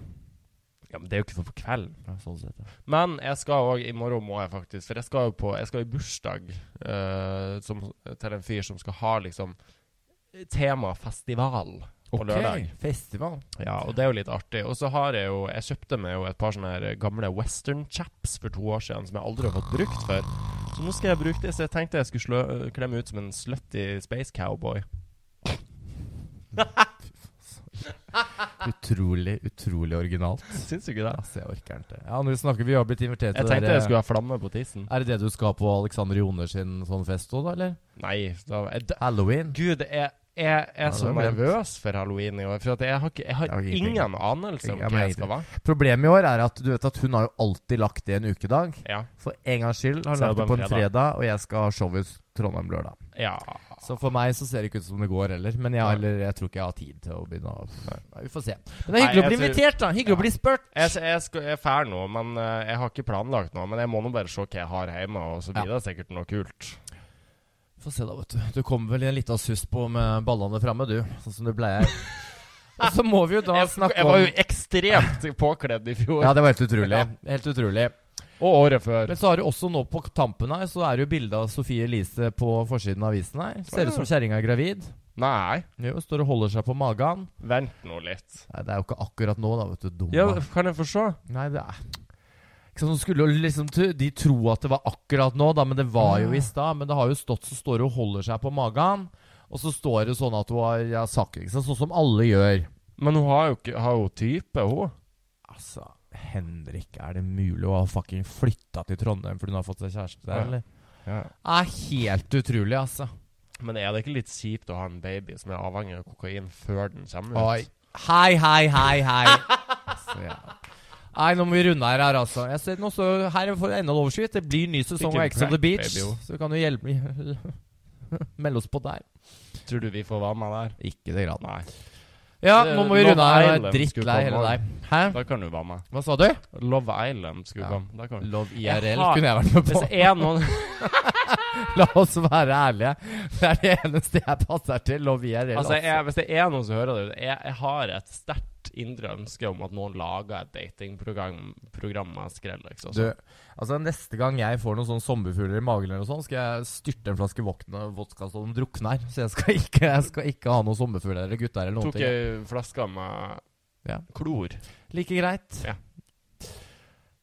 A: Ja, men Det er jo ikke for på kvelden.
B: Ja, sånn sett, ja.
A: Men jeg skal òg I morgen må jeg faktisk For jeg skal jo på Jeg skal i bursdag eh, som, til en fyr som skal ha liksom tema festival på
B: Ok,
A: lørdag.
B: Festival.
A: Ja, og det er jo litt artig. Og så har jeg jo Jeg kjøpte meg jo et par sånne her gamle western chaps for to år siden som jeg aldri har fått brukt før. Så nå skal jeg bruke det, så jeg tenkte jeg skulle slå, klemme ut som en slutty space cowboy. Ah.
B: Utrolig, utrolig originalt.
A: Syns du ikke det?
B: Altså, jeg orker ikke. Ja, når vi snakker, vi har blitt invitert
A: Jeg
B: til
A: tenkte
B: dere-
A: jeg skulle ha flamme på tissen.
B: Er det det du skal på Alexander Joner sin sånn fest òg, da, eller?
A: Nei, da jeg,
B: Halloween?
A: Gud, jeg, jeg er
B: Ja, det
A: så
B: er glemt.
A: nervøs for halloween i år. For at jeg har, ikke, jeg
B: Jeg
A: har
B: har ikke
A: ingen
B: peiling.
A: anelse om
B: Jeg
A: hva
B: mener
A: jeg skal være.
B: Problemet i år er at du vet at hun har jo alltid lagt det en ukedag.
A: Ja.
B: For en gangs skyld har hun
A: Så er
B: lagt
A: det
B: det
A: på
B: på
A: en
B: en fredag, og jeg skal ha show i Trondheim lørdag.
A: ja.
B: Så for meg så ser det ikke ut som det går heller. Men jeg, har heller, jeg tror ikke jeg har tid til å begynne å Nei, Vi får se. Men det er
A: Nei,
B: hyggelig å
A: jeg
B: bli
A: tror-
B: invitert, da. Hyggelig
A: Ja.
B: å bli spurt.
A: Jeg, s- jeg, skal, jeg er ferdig nå, men eh, jeg har ikke planlagt noe. Men jeg må nå bare se hva jeg har hjemme, og så blir det sikkert noe kult.
B: Få se, da, vet du. Du kommer vel i en liten suss på med ballene framme, du. Sånn som du pleier. og så må vi jo da
A: Jeg,
B: snakke
A: jeg var jo
B: om
A: ekstremt påkledd i fjor.
B: Ja, det var helt utrolig. Helt utrolig.
A: Og året før.
B: Men så har du også nå på tampen her, så er det jo bilde av Sofie Elise på forsiden av avisen her. Ser ut som kjerringa er gravid.
A: Nei,
B: Jo, står og holder seg på magen.
A: vent nå litt.
B: Nei, det er jo ikke akkurat nå, da, vet du. Dumma.
A: Ja, kan jeg få se?
B: Nei, det er ikke sant, så skulle jo liksom t- De tro at det var akkurat nå, da, men det var jo i stad. Men det har jo stått så står hun og holder seg på magen. Og så står det sånn at hun har ja, sagt ikke sant, Sånn som alle gjør.
A: Men hun har jo ikke har jo type, hun.
B: Altså, Henrik, er det mulig å ha fucking flytta til Trondheim fordi hun har fått seg kjæreste der,
A: Ja.
B: eller? Det er helt utrolig, altså.
A: Men er det ikke litt kjipt å ha en baby som er avhengig av kokain før den kommer ut?
B: Oi. Hei, hei, hei, hei. altså, ja. Nei, nå må vi runde her, her altså. Jeg ser, nå så, her er enda en overskrift. Det blir ny sesong
A: Ikke
B: av Ex on the
A: prank,
B: Beach.
A: baby, jo.
B: så du kan jo hjelpe Melde oss på der.
A: Tror du vi får være med der?
B: Ikke det grad.
A: Nei.
B: Ja,
A: Det-
B: nå må vi
A: Love
B: runde her. Jeg
A: Island
B: er drittlei
A: skulle
B: hele
A: komme.
B: deg. Hæ?
A: Da kan du være med.
B: Hva sa du?
A: Love Island skulle
B: Ja.
A: komme. Da kan vi.
B: Love
A: Jeg
B: IRL
A: har-
B: kunne jeg vært med
A: Hvis
B: på.
A: det er noen
B: La oss være ærlige. Det er det eneste jeg passer til. Love IRL.
A: Altså,
B: Altså,
A: jeg, hvis det er noen som hører det Jeg, jeg har et sterkt indre ønske om at noen lager et datingprogram program med liksom. Skrellex.
B: Du,
A: Også.
B: altså Neste gang jeg får noen sånne sommerfugler i magen, eller noe sånt, skal jeg styrte en flaske vokna- vodka så den drukner. Så jeg skal ikke, jeg skal ikke ha noen sommerfugler eller gutter eller noen
A: Tok
B: ting.
A: ei flaske med
B: Ja.
A: klor.
B: Like greit.
A: Ja.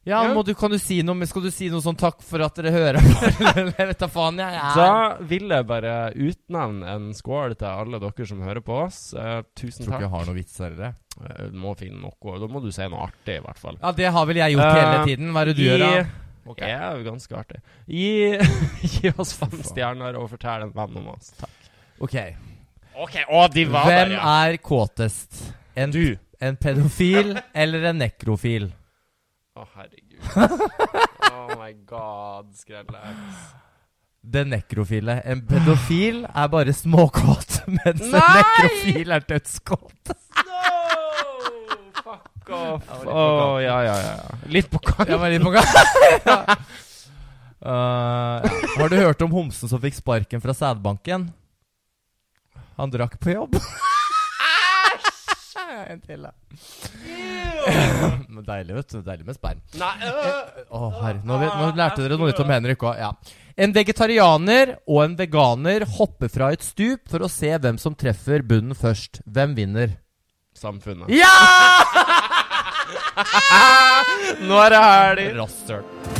B: Ja,
A: Ja.
B: Må du, kan du si noe, men skal du si noe sånn 'takk for at dere hører på'? eller jeg vet da faen, jeg er
A: Da vil jeg bare utnevne en skål til alle dere som hører på oss. Eh, tusen
B: Tror ikke
A: takk.
B: jeg har noe vits her. eller?
A: Eh, Du må finne noe. Da må du si noe artig, i hvert fall.
B: Ja, det har vel jeg gjort hele
A: Eh,
B: tiden. Hva er det du
A: i-
B: gjør, da? Ok.
A: Det er jo ganske artig. Gi, gi oss fem
B: Faen.
A: stjerner og fortell en venn om oss.
B: Ok.
A: OK, å, de var
B: Hvem
A: der, ja!
B: er kåtest? En,
A: Du.
B: en pedofil eller en nekrofil?
A: Å, herregud. oh my god, Skrellex.
B: Den nekrofile. En pedofil er bare småkåt, mens en
A: Nei!
B: nekrofil er dødskåt.
A: No! Fuck off.
B: Jeg var litt på
A: Å, ja, ja, ja. Litt på kanten.
B: Jeg var litt på gang. Eh, Uh, ja. Har du hørt om homsen som fikk sparken fra sædbanken? Han drakk på jobb. en til, da. Men deilig, vet du. Deilig med sperm.
A: Nei, øh.
B: Å, herre. Nå, vet- nå lærte dere noe nytt om Henrik òg. Ja. En vegetarianer og en veganer hopper fra et stup for å se hvem som treffer bunnen først. Hvem vinner?
A: Samfunnet.
B: Ja!
A: Nå er det helg!
B: Rasshøl.